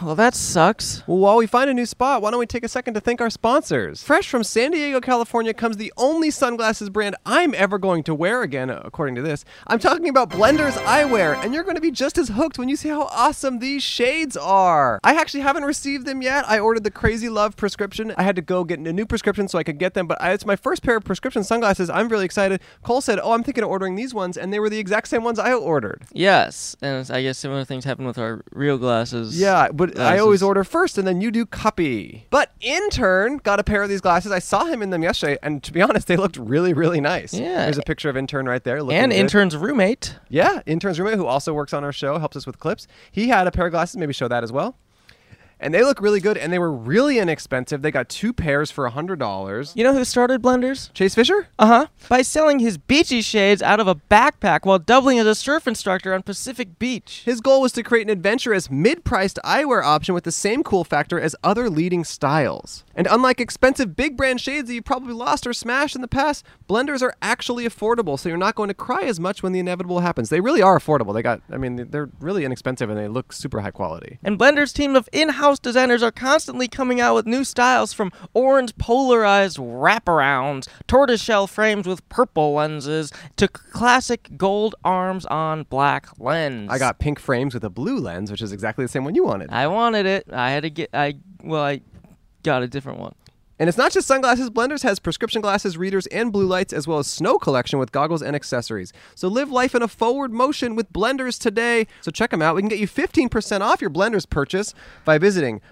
[SPEAKER 1] Well, that sucks.
[SPEAKER 2] Well, while we find a new spot, why don't we take a second to thank our sponsors? Fresh from San Diego, California comes the only sunglasses brand I'm ever going to wear again, according to this. I'm talking about Blenders Eyewear, and you're going to be just as hooked when you see how awesome these shades are. I actually haven't received them yet. I ordered the Crazy Love prescription. I had to go get a new prescription so I could get them, but I, it's my first pair of prescription sunglasses. I'm really excited. Cole said, Oh, I'm thinking of ordering these ones, and they were the exact same ones I ordered.
[SPEAKER 1] Yes, and I guess similar things happen with our real glasses.
[SPEAKER 2] Yeah, but I
[SPEAKER 1] Glasses.
[SPEAKER 2] always order first and then you do copy. But intern got a pair of these glasses. I saw him in them yesterday, and to be honest, they looked really, really nice.
[SPEAKER 1] Yeah.
[SPEAKER 2] There's a picture of intern right there. looking
[SPEAKER 1] And
[SPEAKER 2] good.
[SPEAKER 1] intern's roommate.
[SPEAKER 2] Yeah, intern's roommate who also works on our show, helps us with clips. He had a pair of glasses. Maybe show that as well. and they look really good, and they were really inexpensive. They got two pairs for hundred dollars.
[SPEAKER 1] You know who started blenders?
[SPEAKER 2] Chase Fisher?
[SPEAKER 1] Uh huh. By selling his beachy shades out of a backpack while doubling as a surf instructor on Pacific Beach.
[SPEAKER 2] His goal was to create an adventurous, mid priced eyewear option with the same cool factor as other leading styles. And unlike expensive big brand shades that you probably lost or smashed in the past, blenders are actually affordable, so you're not going to cry as much when the inevitable happens. They really are affordable. They got, I mean, they're really inexpensive and they look super high quality.
[SPEAKER 1] And Blender's team of in house designers are constantly coming out with new styles from orange polarized wraparounds, tortoiseshell frames with purple lenses, to classic gold arms on black lens.
[SPEAKER 2] I got pink frames with a blue lens, which is exactly the same one you wanted.
[SPEAKER 1] I wanted it. I had to get. I well, I got a different one.
[SPEAKER 2] And it's not just sunglasses. Blenders has prescription glasses, readers, and blue lights, as well as snow collection with goggles and accessories. So live life in a forward motion with Blenders today. So check them out. We can get you 15% off your Blenders purchase by visiting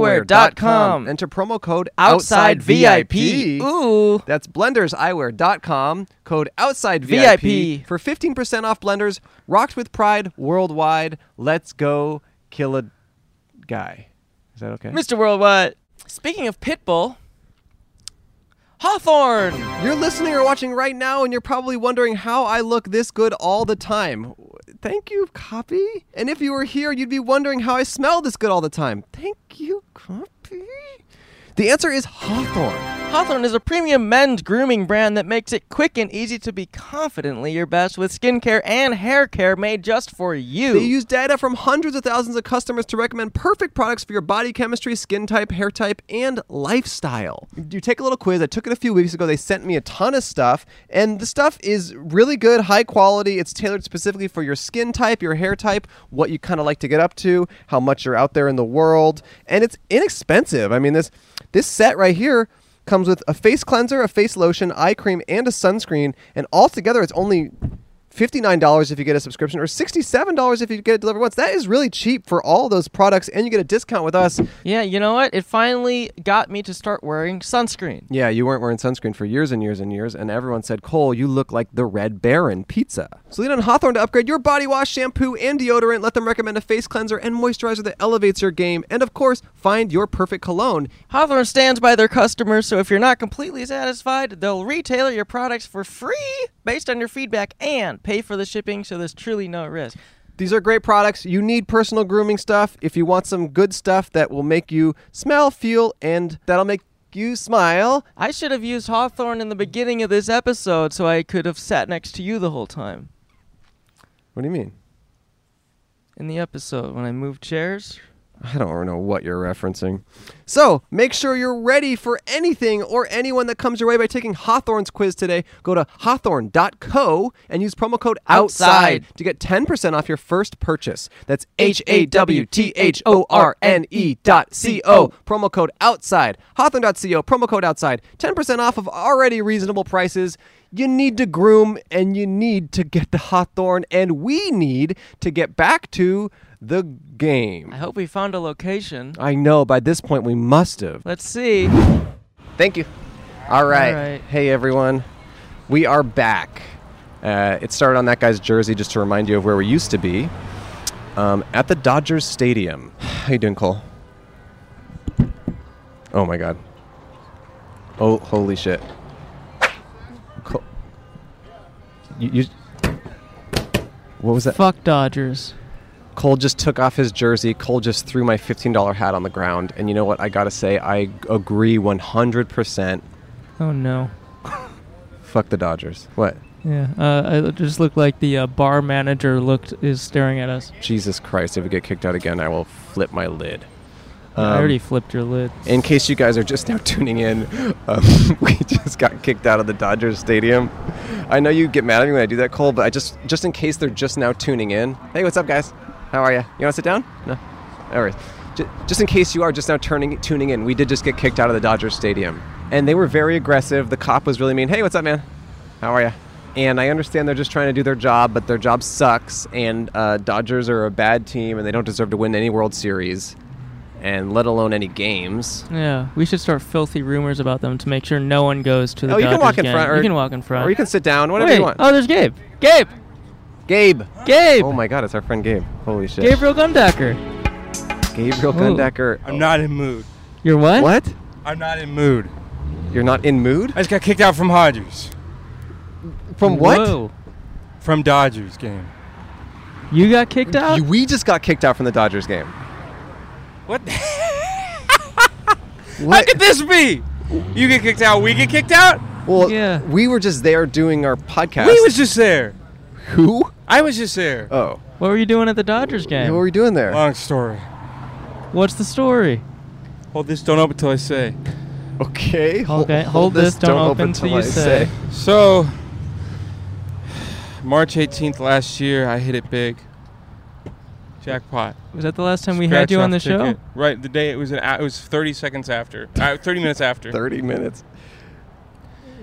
[SPEAKER 1] BlendersEyewear.com.
[SPEAKER 2] Enter promo code
[SPEAKER 1] Outside
[SPEAKER 2] OUTSIDEVIP.
[SPEAKER 1] VIP. Ooh.
[SPEAKER 2] That's BlendersEyewear.com, code OUTSIDEVIP
[SPEAKER 1] VIP.
[SPEAKER 2] for 15% off Blenders. Rocked with pride worldwide. Let's go kill a guy. Is that okay?
[SPEAKER 1] Mr. Worldwide. Speaking of Pitbull, Hawthorne.
[SPEAKER 2] You're listening or watching right now, and you're probably wondering how I look this good all the time. Thank you, Copy. And if you were here, you'd be wondering how I smell this good all the time. Thank you, Copy. The answer is Hawthorne.
[SPEAKER 1] Hawthorne is a premium men's grooming brand that makes it quick and easy to be confidently your best with skincare and hair care made just for you.
[SPEAKER 2] They use data from hundreds of thousands of customers to recommend perfect products for your body chemistry, skin type, hair type, and lifestyle. You take a little quiz. I took it a few weeks ago. They sent me a ton of stuff, and the stuff is really good, high quality. It's tailored specifically for your skin type, your hair type, what you kind of like to get up to, how much you're out there in the world, and it's inexpensive. I mean, this this set right here comes with a face cleanser, a face lotion, eye cream, and a sunscreen, and altogether it's only $59 if you get a subscription or $67 if you get it delivered once. That is really cheap for all those products and you get a discount with us.
[SPEAKER 1] yeah, you know what? It finally got me to start wearing sunscreen.
[SPEAKER 2] Yeah, you weren't wearing sunscreen for years and years and years and everyone said, "Cole, you look like the Red Baron pizza." So lean on Hawthorne to upgrade your body wash, shampoo, and deodorant. Let them recommend a face cleanser and moisturizer that elevates your game and of course, find your perfect cologne.
[SPEAKER 1] Hawthorne stands by their customers, so if you're not completely satisfied, they'll retailer your products for free based on your feedback and pay for the shipping, so there's truly no risk.
[SPEAKER 2] These are great products. You need personal grooming stuff if you want some good stuff that will make you smell, feel, and that'll make you smile.
[SPEAKER 1] I should have used Hawthorne in the beginning of this episode so I could have sat next to you the whole time.
[SPEAKER 2] What do you mean?
[SPEAKER 1] In the episode, when I moved chairs,
[SPEAKER 2] I don't know what you're referencing. So make sure you're ready for anything or anyone that comes your way by taking Hawthorne's quiz today. Go to hawthorne.co and use promo code OUTSIDE,
[SPEAKER 1] Outside.
[SPEAKER 2] to get 10% off your first purchase. That's H
[SPEAKER 1] H
[SPEAKER 2] A
[SPEAKER 1] A W
[SPEAKER 2] W T
[SPEAKER 1] T
[SPEAKER 2] H
[SPEAKER 1] H
[SPEAKER 2] O
[SPEAKER 1] O
[SPEAKER 2] R
[SPEAKER 1] R
[SPEAKER 2] N
[SPEAKER 1] N
[SPEAKER 2] E
[SPEAKER 1] E
[SPEAKER 2] dot
[SPEAKER 1] dot
[SPEAKER 2] C
[SPEAKER 1] C
[SPEAKER 2] O.
[SPEAKER 1] O.
[SPEAKER 2] Promo code OUTSIDE. Hawthorne.co, promo code OUTSIDE. 10% off of already reasonable prices. You need to groom and you need to get the Hawthorne, and we need to get back to the game.
[SPEAKER 1] I hope we found a location.
[SPEAKER 2] I know. By this point, we must have.
[SPEAKER 1] Let's see.
[SPEAKER 2] Thank you. All right.
[SPEAKER 1] All right.
[SPEAKER 2] Hey, everyone. We are back. Uh, it started on that guy's jersey just to remind you of where we used to be um, at the Dodgers Stadium. How you doing, Cole? Oh my God. Oh, holy shit. Cole. You, you. What was that?
[SPEAKER 1] Fuck Dodgers.
[SPEAKER 2] Cole just took off his jersey. Cole just threw my $15 hat on the ground. And you know what? I got to say, I agree 100%.
[SPEAKER 1] Oh no.
[SPEAKER 2] Fuck the Dodgers. What?
[SPEAKER 1] Yeah. Uh, I just looked like the uh, bar manager looked is staring at us.
[SPEAKER 2] Jesus Christ, if we get kicked out again, I will flip my lid. Um,
[SPEAKER 1] I already flipped your lid.
[SPEAKER 2] In case you guys are just now tuning in, um, we just got kicked out of the Dodgers Stadium. I know you get mad at me when I do that, Cole, but I just, just in case they're just now tuning in. Hey, what's up, guys? How are you? You want to sit down? No. All right. Ju- Just in case you are just now turning, tuning in, we did just get kicked out of the Dodgers Stadium. And they were very aggressive. The cop was really mean. Hey, what's up, man? How are you? And I understand they're just trying to do their job, but their job sucks. And uh, Dodgers are a bad team, and they don't deserve to win any World Series, and let alone any games.
[SPEAKER 1] Yeah. We should start filthy rumors about them to make sure no one goes to the.
[SPEAKER 2] Oh, you can
[SPEAKER 1] Dodgers
[SPEAKER 2] walk in
[SPEAKER 1] game.
[SPEAKER 2] front. Or,
[SPEAKER 1] you can walk in front.
[SPEAKER 2] Or you can sit down, whatever
[SPEAKER 1] Wait.
[SPEAKER 2] you want.
[SPEAKER 1] Oh, there's Gabe. Gabe.
[SPEAKER 2] Gabe.
[SPEAKER 1] Gabe.
[SPEAKER 2] Oh my God, it's our friend Gabe. Holy shit.
[SPEAKER 1] Gabriel Gundacker.
[SPEAKER 2] Gabriel Gundecker.
[SPEAKER 10] I'm not in mood.
[SPEAKER 1] You're what?
[SPEAKER 2] What?
[SPEAKER 10] I'm not in mood.
[SPEAKER 2] You're not in mood?
[SPEAKER 10] I just got kicked out from Hodgers.
[SPEAKER 2] From what?
[SPEAKER 1] Whoa.
[SPEAKER 10] From Dodgers game.
[SPEAKER 1] You got kicked out?
[SPEAKER 2] You- we just got kicked out from the Dodgers game.
[SPEAKER 10] What? the- How
[SPEAKER 2] What?
[SPEAKER 10] could this be? You get kicked out. We get kicked out.
[SPEAKER 2] Well,
[SPEAKER 1] Yeah.
[SPEAKER 2] we were just there doing our podcast.
[SPEAKER 10] We was just there.
[SPEAKER 2] who?
[SPEAKER 10] I was just there.
[SPEAKER 2] Oh,
[SPEAKER 1] what were you doing at the Dodgers game?
[SPEAKER 2] what were you doing there?
[SPEAKER 10] Long story.
[SPEAKER 1] What's the story?
[SPEAKER 10] Hold this. Don't open until I say.
[SPEAKER 2] okay. hol-
[SPEAKER 1] Okay, hold this, don't open till you say.
[SPEAKER 10] So, March 18th last year, I hit it big. Jackpot.
[SPEAKER 1] Was that the last time we had you
[SPEAKER 10] Scratch
[SPEAKER 1] on the
[SPEAKER 10] off
[SPEAKER 1] show?
[SPEAKER 10] ticket. Right, the day it was an hou- it was 30 seconds after. Uh, 30 minutes after.
[SPEAKER 2] Thirty minutes.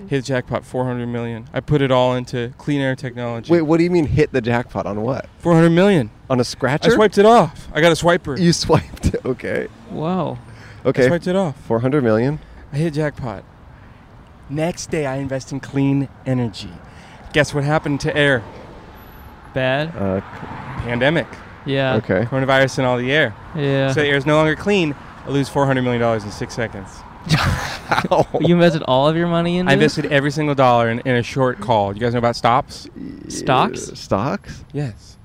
[SPEAKER 10] Hit the jackpot 400 million. I put it all into clean air technology.
[SPEAKER 2] Wait, what do you mean hit the jackpot on what?
[SPEAKER 10] 400 million.
[SPEAKER 2] On a
[SPEAKER 10] I
[SPEAKER 2] scratcher?
[SPEAKER 10] swiped it off. I got a swiper.
[SPEAKER 2] You swiped. Okay.
[SPEAKER 1] Wow.
[SPEAKER 10] I
[SPEAKER 2] Okay.
[SPEAKER 10] swiped it off.
[SPEAKER 2] Four hundred million.
[SPEAKER 10] I hit jackpot. Next day I invest in clean energy. Guess what happened to air?
[SPEAKER 1] Bad?
[SPEAKER 2] Uh,
[SPEAKER 10] Pandemic.
[SPEAKER 1] Yeah.
[SPEAKER 2] okay.
[SPEAKER 10] Coronavirus in all the air.
[SPEAKER 1] Yeah.
[SPEAKER 10] So air is no longer clean. I lose $400 million in six seconds.
[SPEAKER 1] you invested all of your money into
[SPEAKER 10] I
[SPEAKER 1] it?
[SPEAKER 10] invested every single dollar in, in a short call. You guys know about stops?
[SPEAKER 1] stocks?
[SPEAKER 2] Uh, Stocks?
[SPEAKER 10] Yes.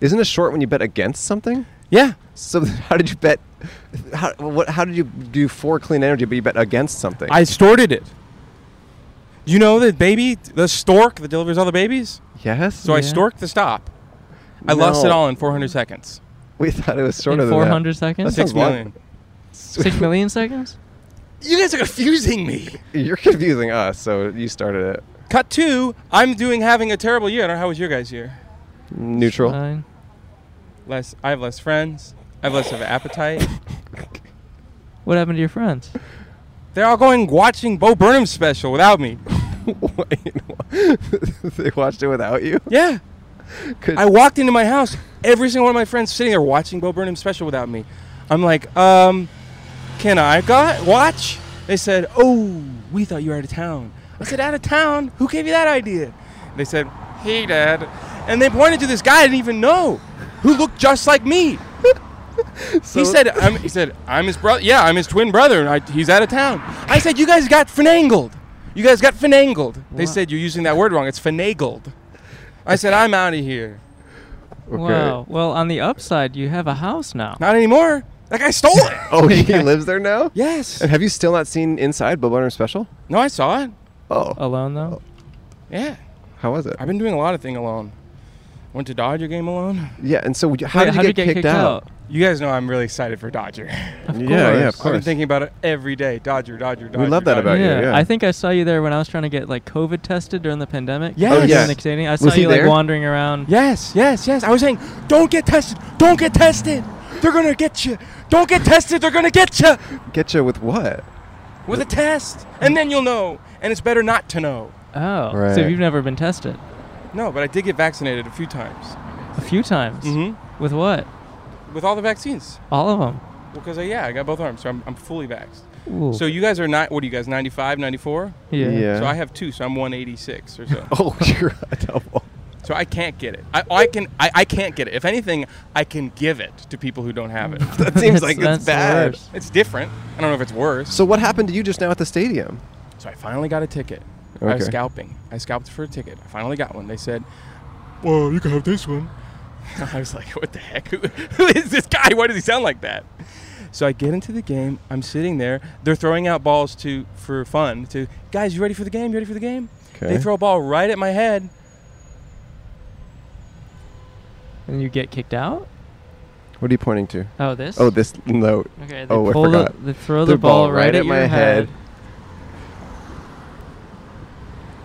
[SPEAKER 2] Isn't it short when you bet against something?
[SPEAKER 10] Yeah.
[SPEAKER 2] So how did you bet? How, what, how did you do for clean energy, but you bet against something?
[SPEAKER 10] I storted it. You know the baby, the stork that delivers all the babies?
[SPEAKER 2] yes.
[SPEAKER 10] So I
[SPEAKER 1] Yeah.
[SPEAKER 10] storked the stop. I lost
[SPEAKER 2] No.
[SPEAKER 10] it all in 400 seconds.
[SPEAKER 2] we thought it was
[SPEAKER 1] In
[SPEAKER 2] shorter than that.
[SPEAKER 1] 400 seconds?
[SPEAKER 10] Six
[SPEAKER 2] sounds wild.
[SPEAKER 10] million.
[SPEAKER 1] Six million seconds?
[SPEAKER 10] You guys are confusing me.
[SPEAKER 2] You're confusing us. So you started it
[SPEAKER 10] Cut two. I'm doing having a terrible year. I don't know how was your guys' year.
[SPEAKER 2] neutral.
[SPEAKER 1] Fine.
[SPEAKER 10] Less. I have less friends. I have less of an appetite.
[SPEAKER 1] What happened to your friends?
[SPEAKER 10] They're all going watching Bo Burnham's special without me.
[SPEAKER 2] Wait, what? they watched it without you.
[SPEAKER 10] Yeah.
[SPEAKER 2] Could-
[SPEAKER 10] I walked into my house. Every single one of my friends sitting there watching Bo Burnham's special without me. I'm like, um, can I got watch? They said, oh, we thought you were out of town. I said, out of town? Who gave you that idea? They said, hey, Dad. And they pointed to this guy I didn't even know, who looked just like me. he said, I'm, he said, I'm his brother. Yeah, I'm his twin brother, and I, he's out of town. I said, you guys got finangled. You guys got finangled. They said you're using that word wrong. It's finagled. I said, I'm out of here.
[SPEAKER 1] Wow. Well, on the upside, you have a house now.
[SPEAKER 10] Not anymore. That guy stole it.
[SPEAKER 2] Oh, he lives there now.
[SPEAKER 10] yes.
[SPEAKER 2] And have you still not seen Inside Bob Burnham special?
[SPEAKER 10] No, I saw it.
[SPEAKER 2] Oh,
[SPEAKER 1] Alone, though?
[SPEAKER 10] Yeah.
[SPEAKER 2] how was it?
[SPEAKER 10] I've been doing a lot of thing alone. Went to Dodger game alone.
[SPEAKER 2] Yeah. And so you- how,
[SPEAKER 1] Wait,
[SPEAKER 2] did, you get kicked, out?
[SPEAKER 10] You guys know I'm really excited for Dodger.
[SPEAKER 2] Yeah, yeah, of
[SPEAKER 10] I've been
[SPEAKER 2] course.
[SPEAKER 10] thinking about it every day. Dodger, Dodger, Dodger.
[SPEAKER 2] love that
[SPEAKER 10] Dodger.
[SPEAKER 2] about you,
[SPEAKER 1] yeah.
[SPEAKER 2] yeah.
[SPEAKER 1] I think I saw you there when I was trying to get like COVID tested during the pandemic.
[SPEAKER 10] Yes. Oh,
[SPEAKER 1] During
[SPEAKER 10] yes.
[SPEAKER 1] the stadium. I saw
[SPEAKER 2] Was he
[SPEAKER 1] you like
[SPEAKER 2] there?
[SPEAKER 1] wandering around.
[SPEAKER 10] Yes, yes, yes. I was saying, don't get tested. Don't get tested. They're gonna get you. Don't get tested. They're gonna get you
[SPEAKER 2] Get you with what?
[SPEAKER 10] with a test, and then you'll know. And it's better not to know.
[SPEAKER 1] Oh, so
[SPEAKER 2] Right.
[SPEAKER 1] you've never been tested
[SPEAKER 10] No, but I did get vaccinated a few times.
[SPEAKER 1] a few times
[SPEAKER 10] Mm-hmm.
[SPEAKER 1] with what?
[SPEAKER 10] With all the vaccines,
[SPEAKER 1] All of them.
[SPEAKER 10] because I, yeah, I got both arms, so I'm, I'm fully vaxxed.
[SPEAKER 1] Ooh.
[SPEAKER 10] So you guys are not. What are you guys? 95, 94.
[SPEAKER 1] yeah.
[SPEAKER 10] So I have two, so I'm 186 or so.
[SPEAKER 2] Oh, you're a double.
[SPEAKER 10] So I can't get it. I, I can. I, I can't get it. If anything, I can give it to people who don't have it.
[SPEAKER 2] That seems
[SPEAKER 1] That's-
[SPEAKER 2] like
[SPEAKER 1] that's
[SPEAKER 2] it's
[SPEAKER 1] the
[SPEAKER 2] bad.
[SPEAKER 1] worst.
[SPEAKER 10] it's different. I don't know if it's worse.
[SPEAKER 2] So what happened to you just now at the stadium?
[SPEAKER 10] So I finally got a ticket. I was
[SPEAKER 2] Okay.
[SPEAKER 10] scalping. I scalped for a ticket. I finally got one. They said, "Well, you can have this one." I was like, "What the heck? Who, who is this guy? Why does he sound like that?" So I get into the game. I'm sitting there. They're throwing out balls to for fun. To guys, you ready for the game? You ready for the game?
[SPEAKER 2] Okay.
[SPEAKER 10] They throw a ball right at my head.
[SPEAKER 1] And you get kicked out?
[SPEAKER 2] What are you pointing to?
[SPEAKER 1] Oh, this?
[SPEAKER 2] Oh, this note.
[SPEAKER 1] Okay, they
[SPEAKER 2] oh, I
[SPEAKER 1] pull the,
[SPEAKER 2] forgot.
[SPEAKER 1] they throw the, ball, right, at, your
[SPEAKER 2] my head.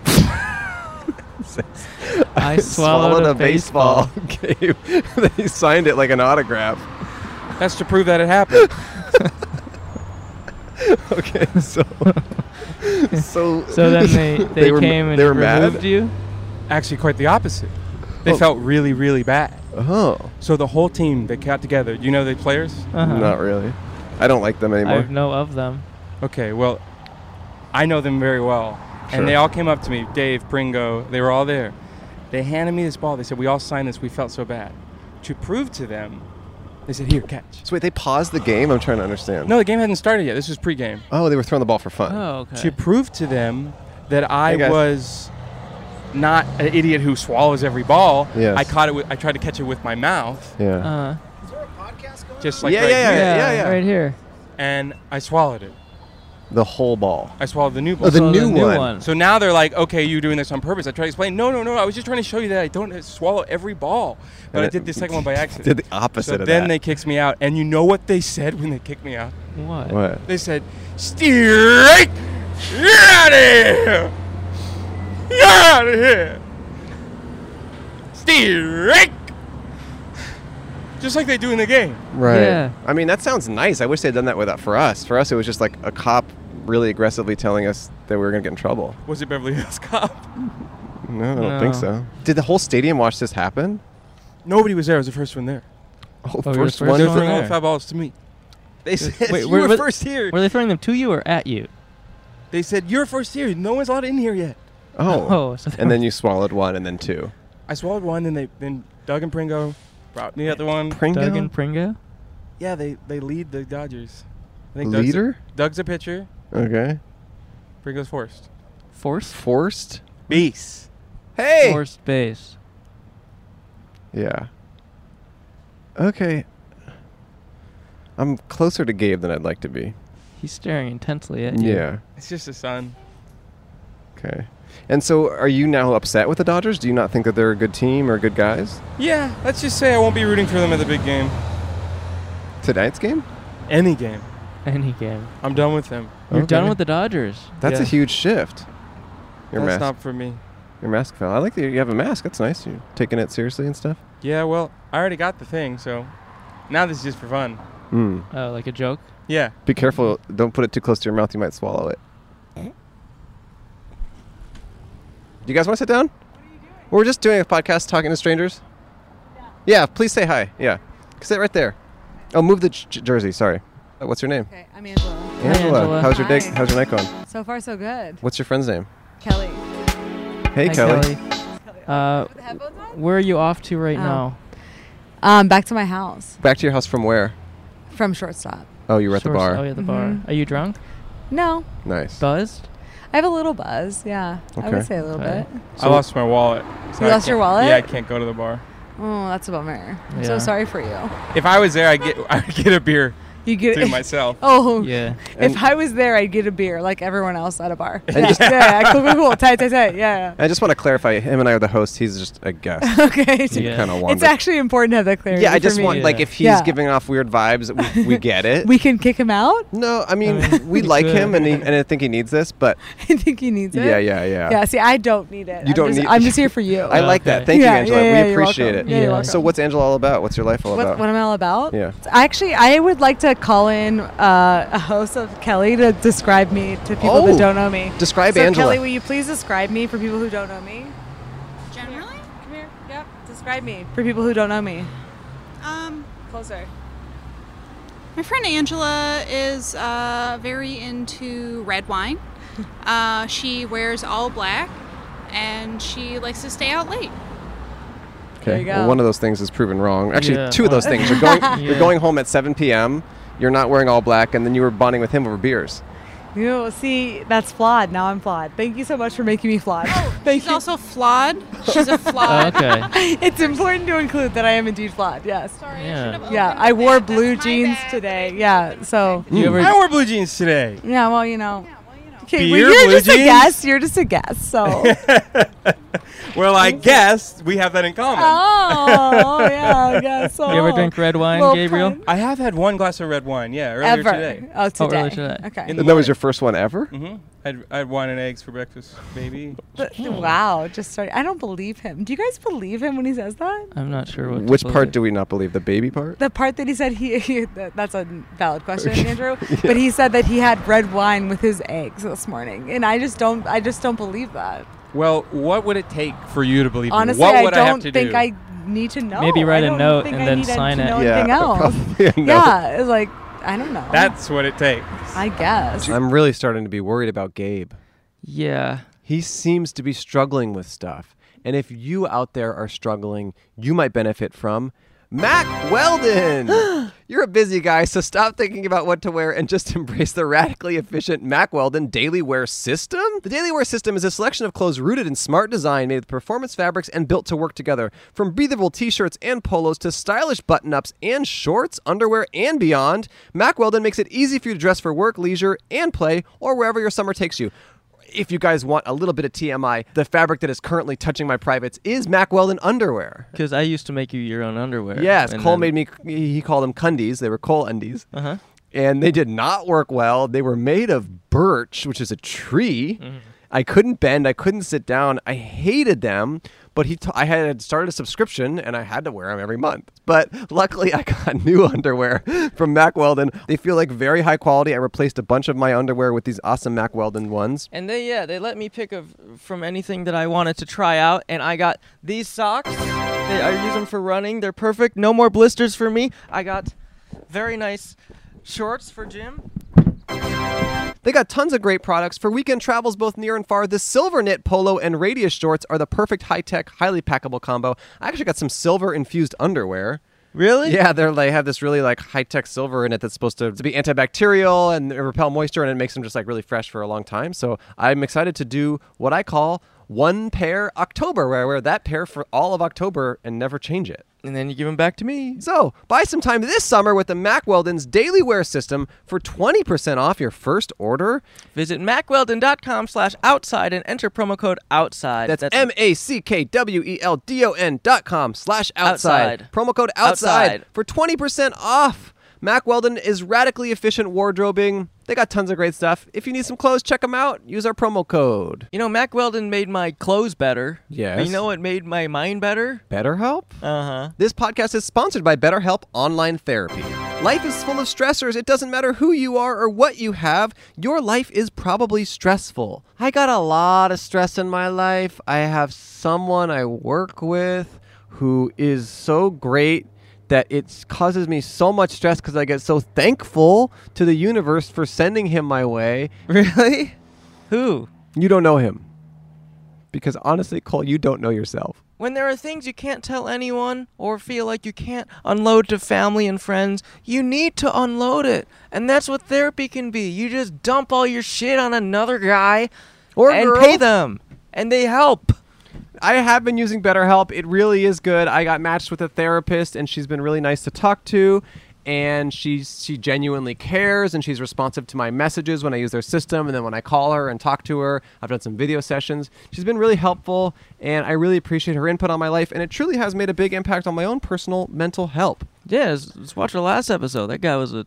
[SPEAKER 1] I swallowed a baseball.
[SPEAKER 2] Gabe, he signed it like an autograph.
[SPEAKER 10] That's to prove that it happened.
[SPEAKER 2] Okay, so so
[SPEAKER 1] So then they, they,
[SPEAKER 2] were-
[SPEAKER 1] came and
[SPEAKER 2] they were
[SPEAKER 1] removed
[SPEAKER 2] mad.
[SPEAKER 1] you?
[SPEAKER 10] Actually, quite the opposite. They
[SPEAKER 2] Oh.
[SPEAKER 10] felt really, really bad.
[SPEAKER 2] Oh,
[SPEAKER 10] So the whole team they got together. You know the players.
[SPEAKER 1] Uh-huh.
[SPEAKER 2] not really. I don't like them
[SPEAKER 1] I
[SPEAKER 2] anymore.
[SPEAKER 1] know of them.
[SPEAKER 10] Okay, well, I know them very well.
[SPEAKER 2] Sure.
[SPEAKER 10] And they all came up to me Dave, Pringo, they were all there. They handed me this ball. They said, We all signed this. We felt so bad. To prove to them They said, "Here, catch."
[SPEAKER 2] So wait, they paused the game. I'm trying to understand.
[SPEAKER 10] No, the game hadn't started yet. This was pre-game.
[SPEAKER 2] Oh, they were throwing the ball for fun.
[SPEAKER 10] To prove to them that I
[SPEAKER 2] Hey, guys.
[SPEAKER 10] was not an idiot who swallows every ball.
[SPEAKER 2] Yes.
[SPEAKER 10] I caught it. With, I tried to catch it with my mouth.
[SPEAKER 1] Uh,
[SPEAKER 2] Yeah.
[SPEAKER 10] Just like
[SPEAKER 2] Yeah,
[SPEAKER 10] right
[SPEAKER 2] yeah,
[SPEAKER 10] here.
[SPEAKER 2] yeah, yeah, yeah.
[SPEAKER 1] Right here.
[SPEAKER 10] And I swallowed it.
[SPEAKER 2] The whole ball.
[SPEAKER 10] I swallowed the new ball.
[SPEAKER 2] Oh, the new one.
[SPEAKER 10] So now they're like, okay, you're doing this on purpose. I try to explain, no, no, no, I was just trying to show you that I don't swallow every ball. But
[SPEAKER 2] And
[SPEAKER 10] I
[SPEAKER 2] it-
[SPEAKER 10] did the second one by accident.
[SPEAKER 2] did the opposite
[SPEAKER 10] so
[SPEAKER 2] of
[SPEAKER 10] then
[SPEAKER 2] that.
[SPEAKER 10] they kicked me out. And you know what they said when they kicked me out?
[SPEAKER 1] What?
[SPEAKER 2] What?
[SPEAKER 10] They said, straight, you're out of here. You're out of here. Straight. Just like they do in the game.
[SPEAKER 2] Right.
[SPEAKER 1] Yeah.
[SPEAKER 2] I mean, that sounds nice. I wish they'd done that with that for us. For us, it was just like a cop really aggressively telling us that we were gonna get in trouble.
[SPEAKER 10] Was it Beverly Hills Cop?
[SPEAKER 2] No, I don't think
[SPEAKER 1] No.
[SPEAKER 2] so. Did the whole stadium watch this happen?
[SPEAKER 10] Nobody was there. I was the first one there.
[SPEAKER 2] Oh,
[SPEAKER 1] we were
[SPEAKER 2] first
[SPEAKER 1] the first
[SPEAKER 2] one.
[SPEAKER 10] They were
[SPEAKER 1] one
[SPEAKER 10] throwing all
[SPEAKER 1] there.
[SPEAKER 10] five balls to me. They said,
[SPEAKER 1] Wait,
[SPEAKER 10] you
[SPEAKER 1] were-
[SPEAKER 10] were,
[SPEAKER 1] were-
[SPEAKER 10] first here.
[SPEAKER 1] Were they throwing them to you or at you?
[SPEAKER 10] They said, You're first here. No one's allowed in here yet.
[SPEAKER 2] Oh.
[SPEAKER 1] Oh, so they
[SPEAKER 2] and then you swallowed one, and then two.
[SPEAKER 10] I swallowed one, and they then Doug and Pringo brought me the other one.
[SPEAKER 2] Pringle?
[SPEAKER 1] Doug and Pringo?
[SPEAKER 10] yeah, they, they lead the Dodgers. I think Doug's
[SPEAKER 2] Leader?
[SPEAKER 10] A, Doug's a pitcher.
[SPEAKER 2] Okay.
[SPEAKER 10] Pringo's forced.
[SPEAKER 1] Force?
[SPEAKER 2] Forced?
[SPEAKER 10] Beast.
[SPEAKER 2] Hey.
[SPEAKER 1] Forced base.
[SPEAKER 2] Yeah. Okay. I'm closer to Gabe than I'd like to be.
[SPEAKER 1] He's staring intensely at you.
[SPEAKER 2] Yeah.
[SPEAKER 10] It's just a son.
[SPEAKER 2] Okay. And so, are you now upset with the Dodgers? Do you not think that they're a good team or good guys?
[SPEAKER 10] Yeah, let's just say I won't be rooting for them at the big game.
[SPEAKER 2] Tonight's game?
[SPEAKER 10] Any game.
[SPEAKER 1] Any game.
[SPEAKER 10] I'm done with them.
[SPEAKER 1] You're done
[SPEAKER 2] Okay.
[SPEAKER 1] with the Dodgers.
[SPEAKER 2] That's a
[SPEAKER 10] Yeah.
[SPEAKER 2] huge shift. Your mask.
[SPEAKER 10] That's not for me.
[SPEAKER 2] Your mask fell. I like that you have a mask. That's nice. You're taking it seriously and stuff.
[SPEAKER 10] Yeah, well, I already got the thing, so now this is just for fun.
[SPEAKER 2] Mm.
[SPEAKER 1] Oh, like a joke?
[SPEAKER 10] Yeah.
[SPEAKER 2] Be careful. Don't put it too close to your mouth. You might swallow it. Do you guys want to sit down? We're just doing a podcast talking to strangers. Yeah. please say hi. Yeah. Sit right there. Oh, move the j- j- jersey. Sorry. Uh, What's your name?
[SPEAKER 11] Okay, I'm Angela.
[SPEAKER 2] Angela.
[SPEAKER 1] Angela.
[SPEAKER 2] How's your day?
[SPEAKER 11] Hi.
[SPEAKER 2] How's your night going?
[SPEAKER 11] So far, so good.
[SPEAKER 2] What's your friend's name?
[SPEAKER 11] Kelly.
[SPEAKER 2] Hey,
[SPEAKER 1] Hi,
[SPEAKER 2] Kelly.
[SPEAKER 1] Uh,
[SPEAKER 11] With the headphones on?
[SPEAKER 1] where are you off to right
[SPEAKER 11] Oh.
[SPEAKER 1] now?
[SPEAKER 11] Um, back to my house
[SPEAKER 2] Back to your house from where?
[SPEAKER 11] from shortstop.
[SPEAKER 2] Oh, you were at the
[SPEAKER 1] Source-
[SPEAKER 2] bar.
[SPEAKER 1] Oh, yeah, the bar.
[SPEAKER 11] Mhm.
[SPEAKER 1] Are you drunk?
[SPEAKER 11] No,
[SPEAKER 2] Nice.
[SPEAKER 1] Buzzed?
[SPEAKER 11] I have a little buzz. Yeah, I
[SPEAKER 2] Okay.
[SPEAKER 11] would say a little
[SPEAKER 1] Okay.
[SPEAKER 11] bit.
[SPEAKER 10] I lost my wallet. so
[SPEAKER 11] You
[SPEAKER 10] I
[SPEAKER 11] lost your
[SPEAKER 10] can't-
[SPEAKER 11] wallet?
[SPEAKER 10] Yeah, I can't go to the bar.
[SPEAKER 11] Oh, that's a bummer. I'm
[SPEAKER 1] Yeah.
[SPEAKER 11] so sorry for you.
[SPEAKER 10] If I was there, I get I would get a beer
[SPEAKER 11] You get
[SPEAKER 10] to myself.
[SPEAKER 11] Oh,
[SPEAKER 1] Yeah.
[SPEAKER 11] if
[SPEAKER 2] And-
[SPEAKER 11] I was there, I'd get a beer like everyone else at a bar.
[SPEAKER 2] And
[SPEAKER 11] Yeah,
[SPEAKER 2] just-
[SPEAKER 11] yeah, yeah, cool, cool, cool. Tight, tight, tight. Yeah.
[SPEAKER 2] I just want to clarify. Him and I are the hosts. He's just a guest.
[SPEAKER 11] yeah. Okay.
[SPEAKER 1] Yeah.
[SPEAKER 2] Kind of
[SPEAKER 11] It's actually important to have that clarity.
[SPEAKER 2] Yeah, I
[SPEAKER 11] for
[SPEAKER 2] just
[SPEAKER 11] me.
[SPEAKER 2] want like
[SPEAKER 1] Yeah.
[SPEAKER 2] if he's
[SPEAKER 11] Yeah.
[SPEAKER 2] giving off weird vibes, we, we get it.
[SPEAKER 11] We can kick him out.
[SPEAKER 2] no, I mean
[SPEAKER 1] I mean, we
[SPEAKER 2] we like him
[SPEAKER 1] could.
[SPEAKER 2] and he, and I think he needs this, but
[SPEAKER 11] I think he needs it.
[SPEAKER 2] yeah, yeah, yeah.
[SPEAKER 11] Yeah. See, I don't need it.
[SPEAKER 2] You
[SPEAKER 11] I'm
[SPEAKER 2] don't
[SPEAKER 11] just,
[SPEAKER 2] need-
[SPEAKER 11] I'm just here for you.
[SPEAKER 2] I like that.
[SPEAKER 1] Okay.
[SPEAKER 2] Thank
[SPEAKER 11] Yeah,
[SPEAKER 2] you, Angela.
[SPEAKER 11] yeah, yeah,
[SPEAKER 2] we
[SPEAKER 11] you're
[SPEAKER 2] appreciate
[SPEAKER 11] welcome.
[SPEAKER 2] it.
[SPEAKER 11] Yeah,
[SPEAKER 1] Yeah.
[SPEAKER 11] you're welcome.
[SPEAKER 2] So what's Angela all about? What's your life all
[SPEAKER 11] what,
[SPEAKER 2] about?
[SPEAKER 11] what am I all about?
[SPEAKER 2] Yeah.
[SPEAKER 11] Actually, I would like to call in uh, a host of Kelly to describe me to people
[SPEAKER 2] Oh.
[SPEAKER 11] that don't know me.
[SPEAKER 2] Describe
[SPEAKER 11] so
[SPEAKER 2] Angela.
[SPEAKER 11] Kelly, will you please describe me for people who don't know me? Generally? Come here. Yeah. Describe me for people who don't know me.
[SPEAKER 12] Um,
[SPEAKER 11] Closer.
[SPEAKER 12] my friend Angela is uh, very into red wine. Uh, she wears all black, and she likes to stay out late.
[SPEAKER 11] There
[SPEAKER 2] okay.
[SPEAKER 11] you
[SPEAKER 2] Well,
[SPEAKER 11] go.
[SPEAKER 2] one of those things is proven wrong. Actually,
[SPEAKER 1] Yeah.
[SPEAKER 2] two of those things. You're going you're
[SPEAKER 1] Yeah.
[SPEAKER 2] going home at 7 p.m. You're not wearing all black, and then you were bonding with him over beers.
[SPEAKER 11] You see, that's flawed. Now I'm flawed. Thank you so much for making me flawed. Thank
[SPEAKER 12] She's
[SPEAKER 11] you.
[SPEAKER 12] also flawed. She's a
[SPEAKER 1] Oh,
[SPEAKER 12] flawed.
[SPEAKER 1] okay.
[SPEAKER 11] it's important to include that I am indeed flawed. Yes.
[SPEAKER 12] Sorry,
[SPEAKER 1] Yeah.
[SPEAKER 12] I should have
[SPEAKER 11] Yeah,
[SPEAKER 12] opened
[SPEAKER 11] I
[SPEAKER 12] with
[SPEAKER 11] wore
[SPEAKER 12] that. That's
[SPEAKER 11] blue
[SPEAKER 12] my
[SPEAKER 11] jeans
[SPEAKER 12] bad.
[SPEAKER 11] today.
[SPEAKER 12] That I
[SPEAKER 11] Yeah.
[SPEAKER 12] didn't
[SPEAKER 11] So.
[SPEAKER 1] You ever
[SPEAKER 10] I wore blue jeans today.
[SPEAKER 11] Yeah. Well, you know.
[SPEAKER 12] open- Well, you know.
[SPEAKER 11] Okay,
[SPEAKER 10] Beer,
[SPEAKER 11] well, you're
[SPEAKER 10] blue
[SPEAKER 11] just a
[SPEAKER 10] jeans?
[SPEAKER 11] guess. You're just a guess. So.
[SPEAKER 10] Well, I guess we have that in common.
[SPEAKER 11] oh, yeah. I guess so.
[SPEAKER 1] You ever drink red wine,
[SPEAKER 11] Well,
[SPEAKER 1] Gabriel?
[SPEAKER 11] pun.
[SPEAKER 10] I have had one glass of red wine. Yeah, earlier
[SPEAKER 11] ever?
[SPEAKER 10] today.
[SPEAKER 11] Oh, today.
[SPEAKER 1] earlier today.
[SPEAKER 11] Okay.
[SPEAKER 10] In
[SPEAKER 2] And that
[SPEAKER 10] the
[SPEAKER 2] was
[SPEAKER 10] morning.
[SPEAKER 2] your first one ever.
[SPEAKER 10] Mhm. I'd, I'd wine and eggs for breakfast, baby.
[SPEAKER 11] But- Wow. Just started. I don't believe him. Do you guys believe him when he says that?
[SPEAKER 1] I'm not sure what. to
[SPEAKER 2] Which part
[SPEAKER 1] believe.
[SPEAKER 2] do we not believe? The baby part?
[SPEAKER 11] The part that he said he, he- that- that's a valid question, Andrew. But he said that he had red wine with his eggs this morning, and I just don't. I just don't believe that.
[SPEAKER 10] Well, what would it take for you to believe? me?
[SPEAKER 11] Honestly,
[SPEAKER 10] what
[SPEAKER 11] I
[SPEAKER 10] would
[SPEAKER 11] don't
[SPEAKER 10] I have to
[SPEAKER 11] think
[SPEAKER 10] do?
[SPEAKER 11] I need to know.
[SPEAKER 1] Maybe write
[SPEAKER 11] I
[SPEAKER 1] a
[SPEAKER 11] don't
[SPEAKER 1] note
[SPEAKER 11] think
[SPEAKER 1] and
[SPEAKER 11] I
[SPEAKER 1] then
[SPEAKER 11] need to
[SPEAKER 1] sign
[SPEAKER 11] know
[SPEAKER 1] it.
[SPEAKER 11] anything else.
[SPEAKER 2] probably a no.
[SPEAKER 11] Yeah, it's like I don't know.
[SPEAKER 10] That's what it takes.
[SPEAKER 11] I guess.
[SPEAKER 2] I'm really starting to be worried about Gabe.
[SPEAKER 1] Yeah.
[SPEAKER 2] He seems to be struggling with stuff. And if you out there are struggling, you might benefit from Mac Weldon. You're a busy guy, so stop thinking about what to wear and just embrace the radically efficient Mac Weldon Daily Wear System. The Daily Wear System is a selection of clothes rooted in smart design, made with performance fabrics and built to work together. From breathable t-shirts and polos to stylish button-ups and shorts, underwear, and beyond, Mac Weldon makes it easy for you to dress for work, leisure, and play, or wherever your summer takes you if you guys want a little bit of TMI, the fabric that is currently touching my privates is Mack Weldon underwear.
[SPEAKER 1] Because I used to make you your own underwear.
[SPEAKER 2] Yes,
[SPEAKER 1] and
[SPEAKER 2] Cole
[SPEAKER 1] then-
[SPEAKER 2] made me. He called them cundies. They were Cole undies.
[SPEAKER 1] Uh-huh.
[SPEAKER 2] And they did not work well. They were made of birch, which is a tree.
[SPEAKER 1] Mm-hmm.
[SPEAKER 2] I couldn't bend. I couldn't sit down. I hated them. But he, t- I had started a subscription, and I had to wear them every month. But luckily, I got new underwear from Mack Weldon. They feel like very high quality. I replaced a bunch of my underwear with these awesome Mack Weldon ones.
[SPEAKER 1] And they yeah, they let me pick of, from anything that I wanted to try out, and I got these socks. They, I use them for running. They're perfect. No more blisters for me. I got very nice shorts for gym.
[SPEAKER 2] They got tons of great products for weekend travels both near and far. The silver knit polo and radius shorts are the perfect high tech, highly packable combo. I actually got some silver infused underwear.
[SPEAKER 1] Really?
[SPEAKER 2] Yeah, they're they have this really like high tech silver in it that's supposed to, to be antibacterial and repel moisture and it makes them just like really fresh for a long time. So I'm excited to do what I call one pair October, where I wear that pair for all of October and never change it.
[SPEAKER 1] And then you give them back to me.
[SPEAKER 2] So buy some time this summer with the Mack Weldon's Daily Wear System for 20% off your first order.
[SPEAKER 1] Visit macweldon.com slash outside and enter promo code outside.
[SPEAKER 2] That's M A C K W E L D O N dot com slash outside.
[SPEAKER 1] Outside.
[SPEAKER 2] Promo code outside,
[SPEAKER 1] Outside.
[SPEAKER 2] for 20% off. Mac Weldon is radically efficient wardrobing. They got tons of great stuff. If you need some clothes, check them out. Use our promo code.
[SPEAKER 1] You know, Mac Weldon made my clothes better.
[SPEAKER 2] Yes.
[SPEAKER 1] You know what made my mind better?
[SPEAKER 2] BetterHelp?
[SPEAKER 1] Uh huh.
[SPEAKER 2] This podcast is sponsored by BetterHelp Online Therapy. Life is full of stressors. It doesn't matter who you are or what you have, your life is probably stressful. I got a lot of stress in my life. I have someone I work with who is so great that it causes me so much stress because I get so thankful to the universe for sending him my way.
[SPEAKER 1] Really? Who?
[SPEAKER 2] You don't know him. Because honestly, Cole, you don't know yourself.
[SPEAKER 1] When there are things you can't tell anyone or feel like you can't unload to family and friends, you need to unload it. And that's what therapy can be. You just dump all your shit on another guy
[SPEAKER 2] Or
[SPEAKER 1] and
[SPEAKER 2] girl.
[SPEAKER 1] pay them. And they help.
[SPEAKER 2] I have been using BetterHelp. It really is good. I got matched with a therapist, and she's been really nice to talk to. And she she genuinely cares, and she's responsive to my messages when I use their system, and then when I call her and talk to her. I've done some video sessions. She's been really helpful, and I really appreciate her input on my life. And it truly has made a big impact on my own personal mental health.
[SPEAKER 1] Yeah, let's, let's watch our last episode. That guy was a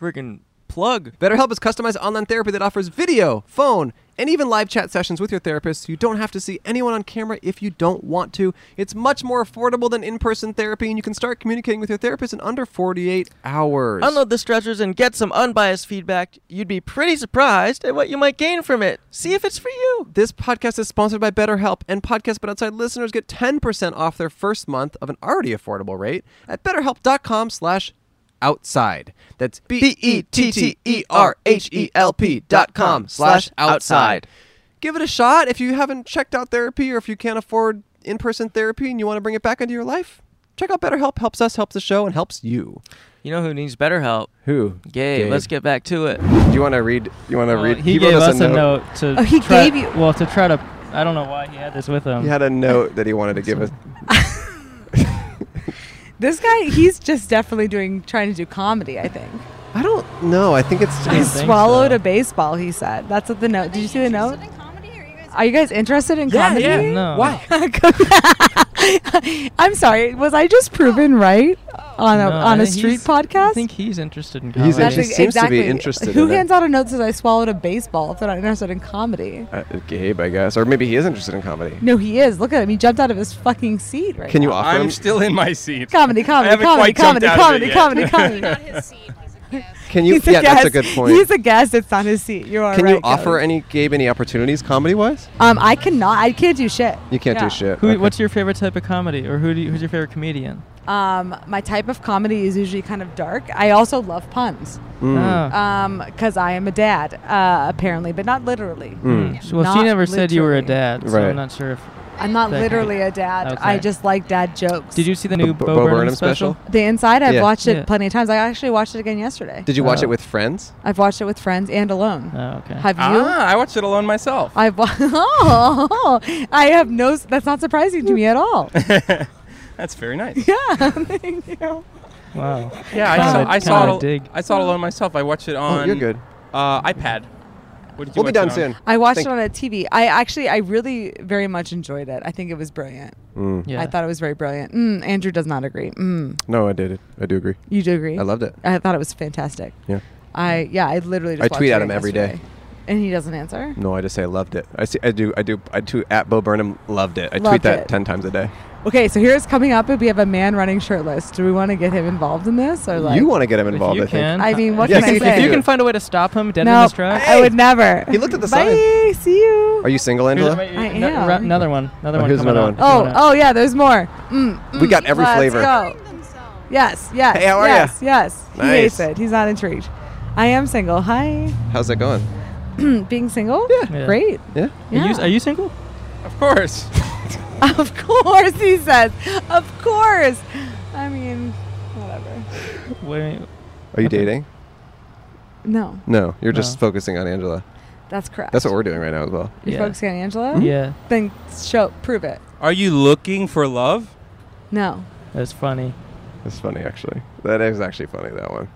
[SPEAKER 1] freaking plug.
[SPEAKER 2] BetterHelp is customized online therapy that offers video, phone, and even live chat sessions with your therapist. You don't have to see anyone on camera if you don't want to. It's much more affordable than in person therapy, and you can start communicating with your therapist in under 48 hours.
[SPEAKER 1] Unload the stretchers and get some unbiased feedback. You'd be pretty surprised at what you might gain from it. See if it's for you.
[SPEAKER 2] This podcast is sponsored by BetterHelp, and Podcast But Outside listeners get 10% off their first month of an already affordable rate at betterhelp.com slash outside. That's E B-E-T-T-E-R-H-E-L-P E dot com slash outside. Give it a shot if you haven't checked out therapy or if you can't afford in-person therapy and you want to bring it back into your life. Check out BetterHelp. Helps us, helps the show, and helps you.
[SPEAKER 1] You know who needs better help?
[SPEAKER 2] Who?
[SPEAKER 1] Gabe.
[SPEAKER 2] Gabe. Oh,
[SPEAKER 1] Let's get back to it.
[SPEAKER 2] Do you want to read? You want to read?
[SPEAKER 5] he,
[SPEAKER 2] wrote
[SPEAKER 5] gave us a note, to.
[SPEAKER 2] Oh, he
[SPEAKER 5] try,
[SPEAKER 2] gave you-
[SPEAKER 5] Well, to try to. I don't know why he had this with him.
[SPEAKER 2] He had a note that he wanted to give us.
[SPEAKER 11] This guy, he's just definitely doing trying to do comedy. I think.
[SPEAKER 2] I don't know. I think it's.
[SPEAKER 11] I swallowed a baseball. He said. That's what the note. Did you see the note? Are you guys interested in
[SPEAKER 2] Yeah,
[SPEAKER 11] comedy?
[SPEAKER 2] yeah. No. Wow.
[SPEAKER 11] I'm sorry. Was I just proven right on a
[SPEAKER 1] No,
[SPEAKER 11] on
[SPEAKER 1] I
[SPEAKER 11] a
[SPEAKER 1] think
[SPEAKER 11] street
[SPEAKER 1] he's-
[SPEAKER 11] podcast?
[SPEAKER 1] I think he's interested in comedy.
[SPEAKER 2] He's inter- he seems to be interested
[SPEAKER 11] Who
[SPEAKER 2] in it.
[SPEAKER 11] hands out a note that says I swallowed a baseball if they're not interested in comedy?
[SPEAKER 2] Uh, Gabe, I guess, or maybe he is interested in comedy.
[SPEAKER 11] No, he is. Look at him. He jumped out of his fucking seat right
[SPEAKER 2] Can you
[SPEAKER 11] now.
[SPEAKER 2] offer him?
[SPEAKER 10] I'm still in my seat.
[SPEAKER 11] Comedy, comedy,
[SPEAKER 10] I haven't
[SPEAKER 11] comedy,
[SPEAKER 10] quite jumped
[SPEAKER 11] comedy,
[SPEAKER 10] out of
[SPEAKER 11] comedy,
[SPEAKER 10] it
[SPEAKER 11] comedy,
[SPEAKER 10] yet.
[SPEAKER 11] comedy.
[SPEAKER 2] Can you?
[SPEAKER 11] He's
[SPEAKER 2] yeah, that's a
[SPEAKER 11] guest.
[SPEAKER 2] good point.
[SPEAKER 11] He's a guest. It's not his seat. You are
[SPEAKER 2] Can
[SPEAKER 11] right.
[SPEAKER 2] you offer
[SPEAKER 11] Kelly.
[SPEAKER 2] any Gabe any opportunities comedy wise?
[SPEAKER 11] Um, I cannot. I can't do shit.
[SPEAKER 2] You can't
[SPEAKER 11] Yeah.
[SPEAKER 2] do shit.
[SPEAKER 5] Who,
[SPEAKER 2] Okay.
[SPEAKER 5] What's your favorite type of comedy, or who do you, who's your favorite comedian?
[SPEAKER 11] Um, my type of comedy is usually kind of dark. I also love puns.
[SPEAKER 2] Hmm.
[SPEAKER 5] Mm.
[SPEAKER 1] uh, Ah.
[SPEAKER 5] Oh.
[SPEAKER 11] Um, because I am a dad, uh, apparently, but not literally.
[SPEAKER 5] Mm. Well, she
[SPEAKER 11] Not
[SPEAKER 5] never said you were a
[SPEAKER 11] literally.
[SPEAKER 5] dad, so
[SPEAKER 2] Hmm. Right.
[SPEAKER 5] I'm not sure if
[SPEAKER 11] I'm not
[SPEAKER 1] Thank you.
[SPEAKER 11] literally a dad.
[SPEAKER 1] Okay.
[SPEAKER 11] I just like dad jokes.
[SPEAKER 1] Did you see the new Bo,
[SPEAKER 2] Bo
[SPEAKER 1] Burnham,
[SPEAKER 2] Burnham
[SPEAKER 1] special?
[SPEAKER 2] special?
[SPEAKER 11] The Inside, I've
[SPEAKER 2] Yeah.
[SPEAKER 11] watched it
[SPEAKER 2] Yeah.
[SPEAKER 11] plenty of times. I actually watched it again yesterday.
[SPEAKER 2] Did you watch it with friends?
[SPEAKER 11] I've watched it with friends and alone.
[SPEAKER 5] Uh,
[SPEAKER 1] Oh, okay.
[SPEAKER 11] Have you?
[SPEAKER 10] Ah, I watched it alone myself.
[SPEAKER 11] I've wa- oh, I have no. s- That's not surprising to me at all.
[SPEAKER 10] That's very nice.
[SPEAKER 11] yeah, thank you.
[SPEAKER 1] Wow.
[SPEAKER 10] Yeah, I
[SPEAKER 1] Kinda-
[SPEAKER 10] saw, I saw it.
[SPEAKER 1] kinda
[SPEAKER 10] al-
[SPEAKER 1] dig.
[SPEAKER 10] I saw it alone myself. I watched it on.
[SPEAKER 2] Oh, you're good.
[SPEAKER 10] Uh, iPad. What did you
[SPEAKER 2] We'll be done
[SPEAKER 10] watch it on?
[SPEAKER 2] soon.
[SPEAKER 11] I watched it on a TV. I actually, I really very much enjoyed it. I think it was brilliant.
[SPEAKER 2] Mm.
[SPEAKER 11] I
[SPEAKER 2] Yeah.
[SPEAKER 11] thought it was very brilliant. Mm, Andrew does not agree. Mm,
[SPEAKER 2] No, I did it. I do agree.
[SPEAKER 11] you do agree?
[SPEAKER 2] I loved it.
[SPEAKER 11] I thought it was fantastic.
[SPEAKER 2] Yeah.
[SPEAKER 11] I yeah, I literally. Just
[SPEAKER 2] I tweet
[SPEAKER 11] watched
[SPEAKER 2] at
[SPEAKER 11] it
[SPEAKER 2] him every day.
[SPEAKER 11] yesterday. and he doesn't answer.
[SPEAKER 2] No, I just say I loved it. I see. I do. I do. I do. At Bo Burnham loved it. I
[SPEAKER 11] Loved
[SPEAKER 2] tweet that
[SPEAKER 11] it.
[SPEAKER 2] ten times a day.
[SPEAKER 11] Okay, so here's coming up. If we have a man running shirtless, do we want to get him involved in this or like
[SPEAKER 2] you want to get him involved?
[SPEAKER 1] you
[SPEAKER 2] I think.
[SPEAKER 1] can.
[SPEAKER 11] I mean, what
[SPEAKER 2] Yeah,
[SPEAKER 11] can
[SPEAKER 2] see
[SPEAKER 11] I
[SPEAKER 2] if
[SPEAKER 11] say?
[SPEAKER 2] you can
[SPEAKER 1] find a way to stop him dead in
[SPEAKER 11] no,
[SPEAKER 1] his tracks.
[SPEAKER 11] I would never.
[SPEAKER 2] He looked at the
[SPEAKER 11] Bye, See you.
[SPEAKER 2] Are you single,
[SPEAKER 1] Here's
[SPEAKER 2] Angela?
[SPEAKER 1] my-
[SPEAKER 11] I
[SPEAKER 1] no-
[SPEAKER 11] am.
[SPEAKER 1] ra- another one. Another
[SPEAKER 2] Oh,
[SPEAKER 1] one.
[SPEAKER 2] here's
[SPEAKER 1] coming
[SPEAKER 2] another
[SPEAKER 1] up.
[SPEAKER 2] one.
[SPEAKER 11] Oh,
[SPEAKER 1] Coming up.
[SPEAKER 11] oh yeah, there's more. Mm,
[SPEAKER 2] We
[SPEAKER 11] mm,
[SPEAKER 2] got every
[SPEAKER 11] let's
[SPEAKER 2] flavor.
[SPEAKER 11] Go. Yes, yes.
[SPEAKER 2] Hey, how are ya?
[SPEAKER 11] yes, Yes, He
[SPEAKER 2] Nice.
[SPEAKER 11] hates it. He's not intrigued. I am single. Hi.
[SPEAKER 2] How's that going?
[SPEAKER 11] Being single?
[SPEAKER 1] Yeah.
[SPEAKER 11] Great.
[SPEAKER 2] Yeah.
[SPEAKER 1] Are, you,
[SPEAKER 11] Yeah.
[SPEAKER 1] are you single?
[SPEAKER 10] Of course.
[SPEAKER 11] Of course, he says. Of course. I mean, whatever.
[SPEAKER 1] Wait.
[SPEAKER 2] Are you dating?
[SPEAKER 11] No,
[SPEAKER 2] No, you're just
[SPEAKER 1] No.
[SPEAKER 2] focusing on Angela.
[SPEAKER 11] that's correct.
[SPEAKER 2] That's Mm-hmm. what we're doing right now as well.
[SPEAKER 11] You're
[SPEAKER 1] Yeah.
[SPEAKER 11] focusing on Angela?
[SPEAKER 2] Hmm?
[SPEAKER 1] Yeah.
[SPEAKER 11] Then show, prove it.
[SPEAKER 10] Are you looking for love?
[SPEAKER 11] No.
[SPEAKER 1] That's funny.
[SPEAKER 2] That's funny, actually. That is actually funny. That one.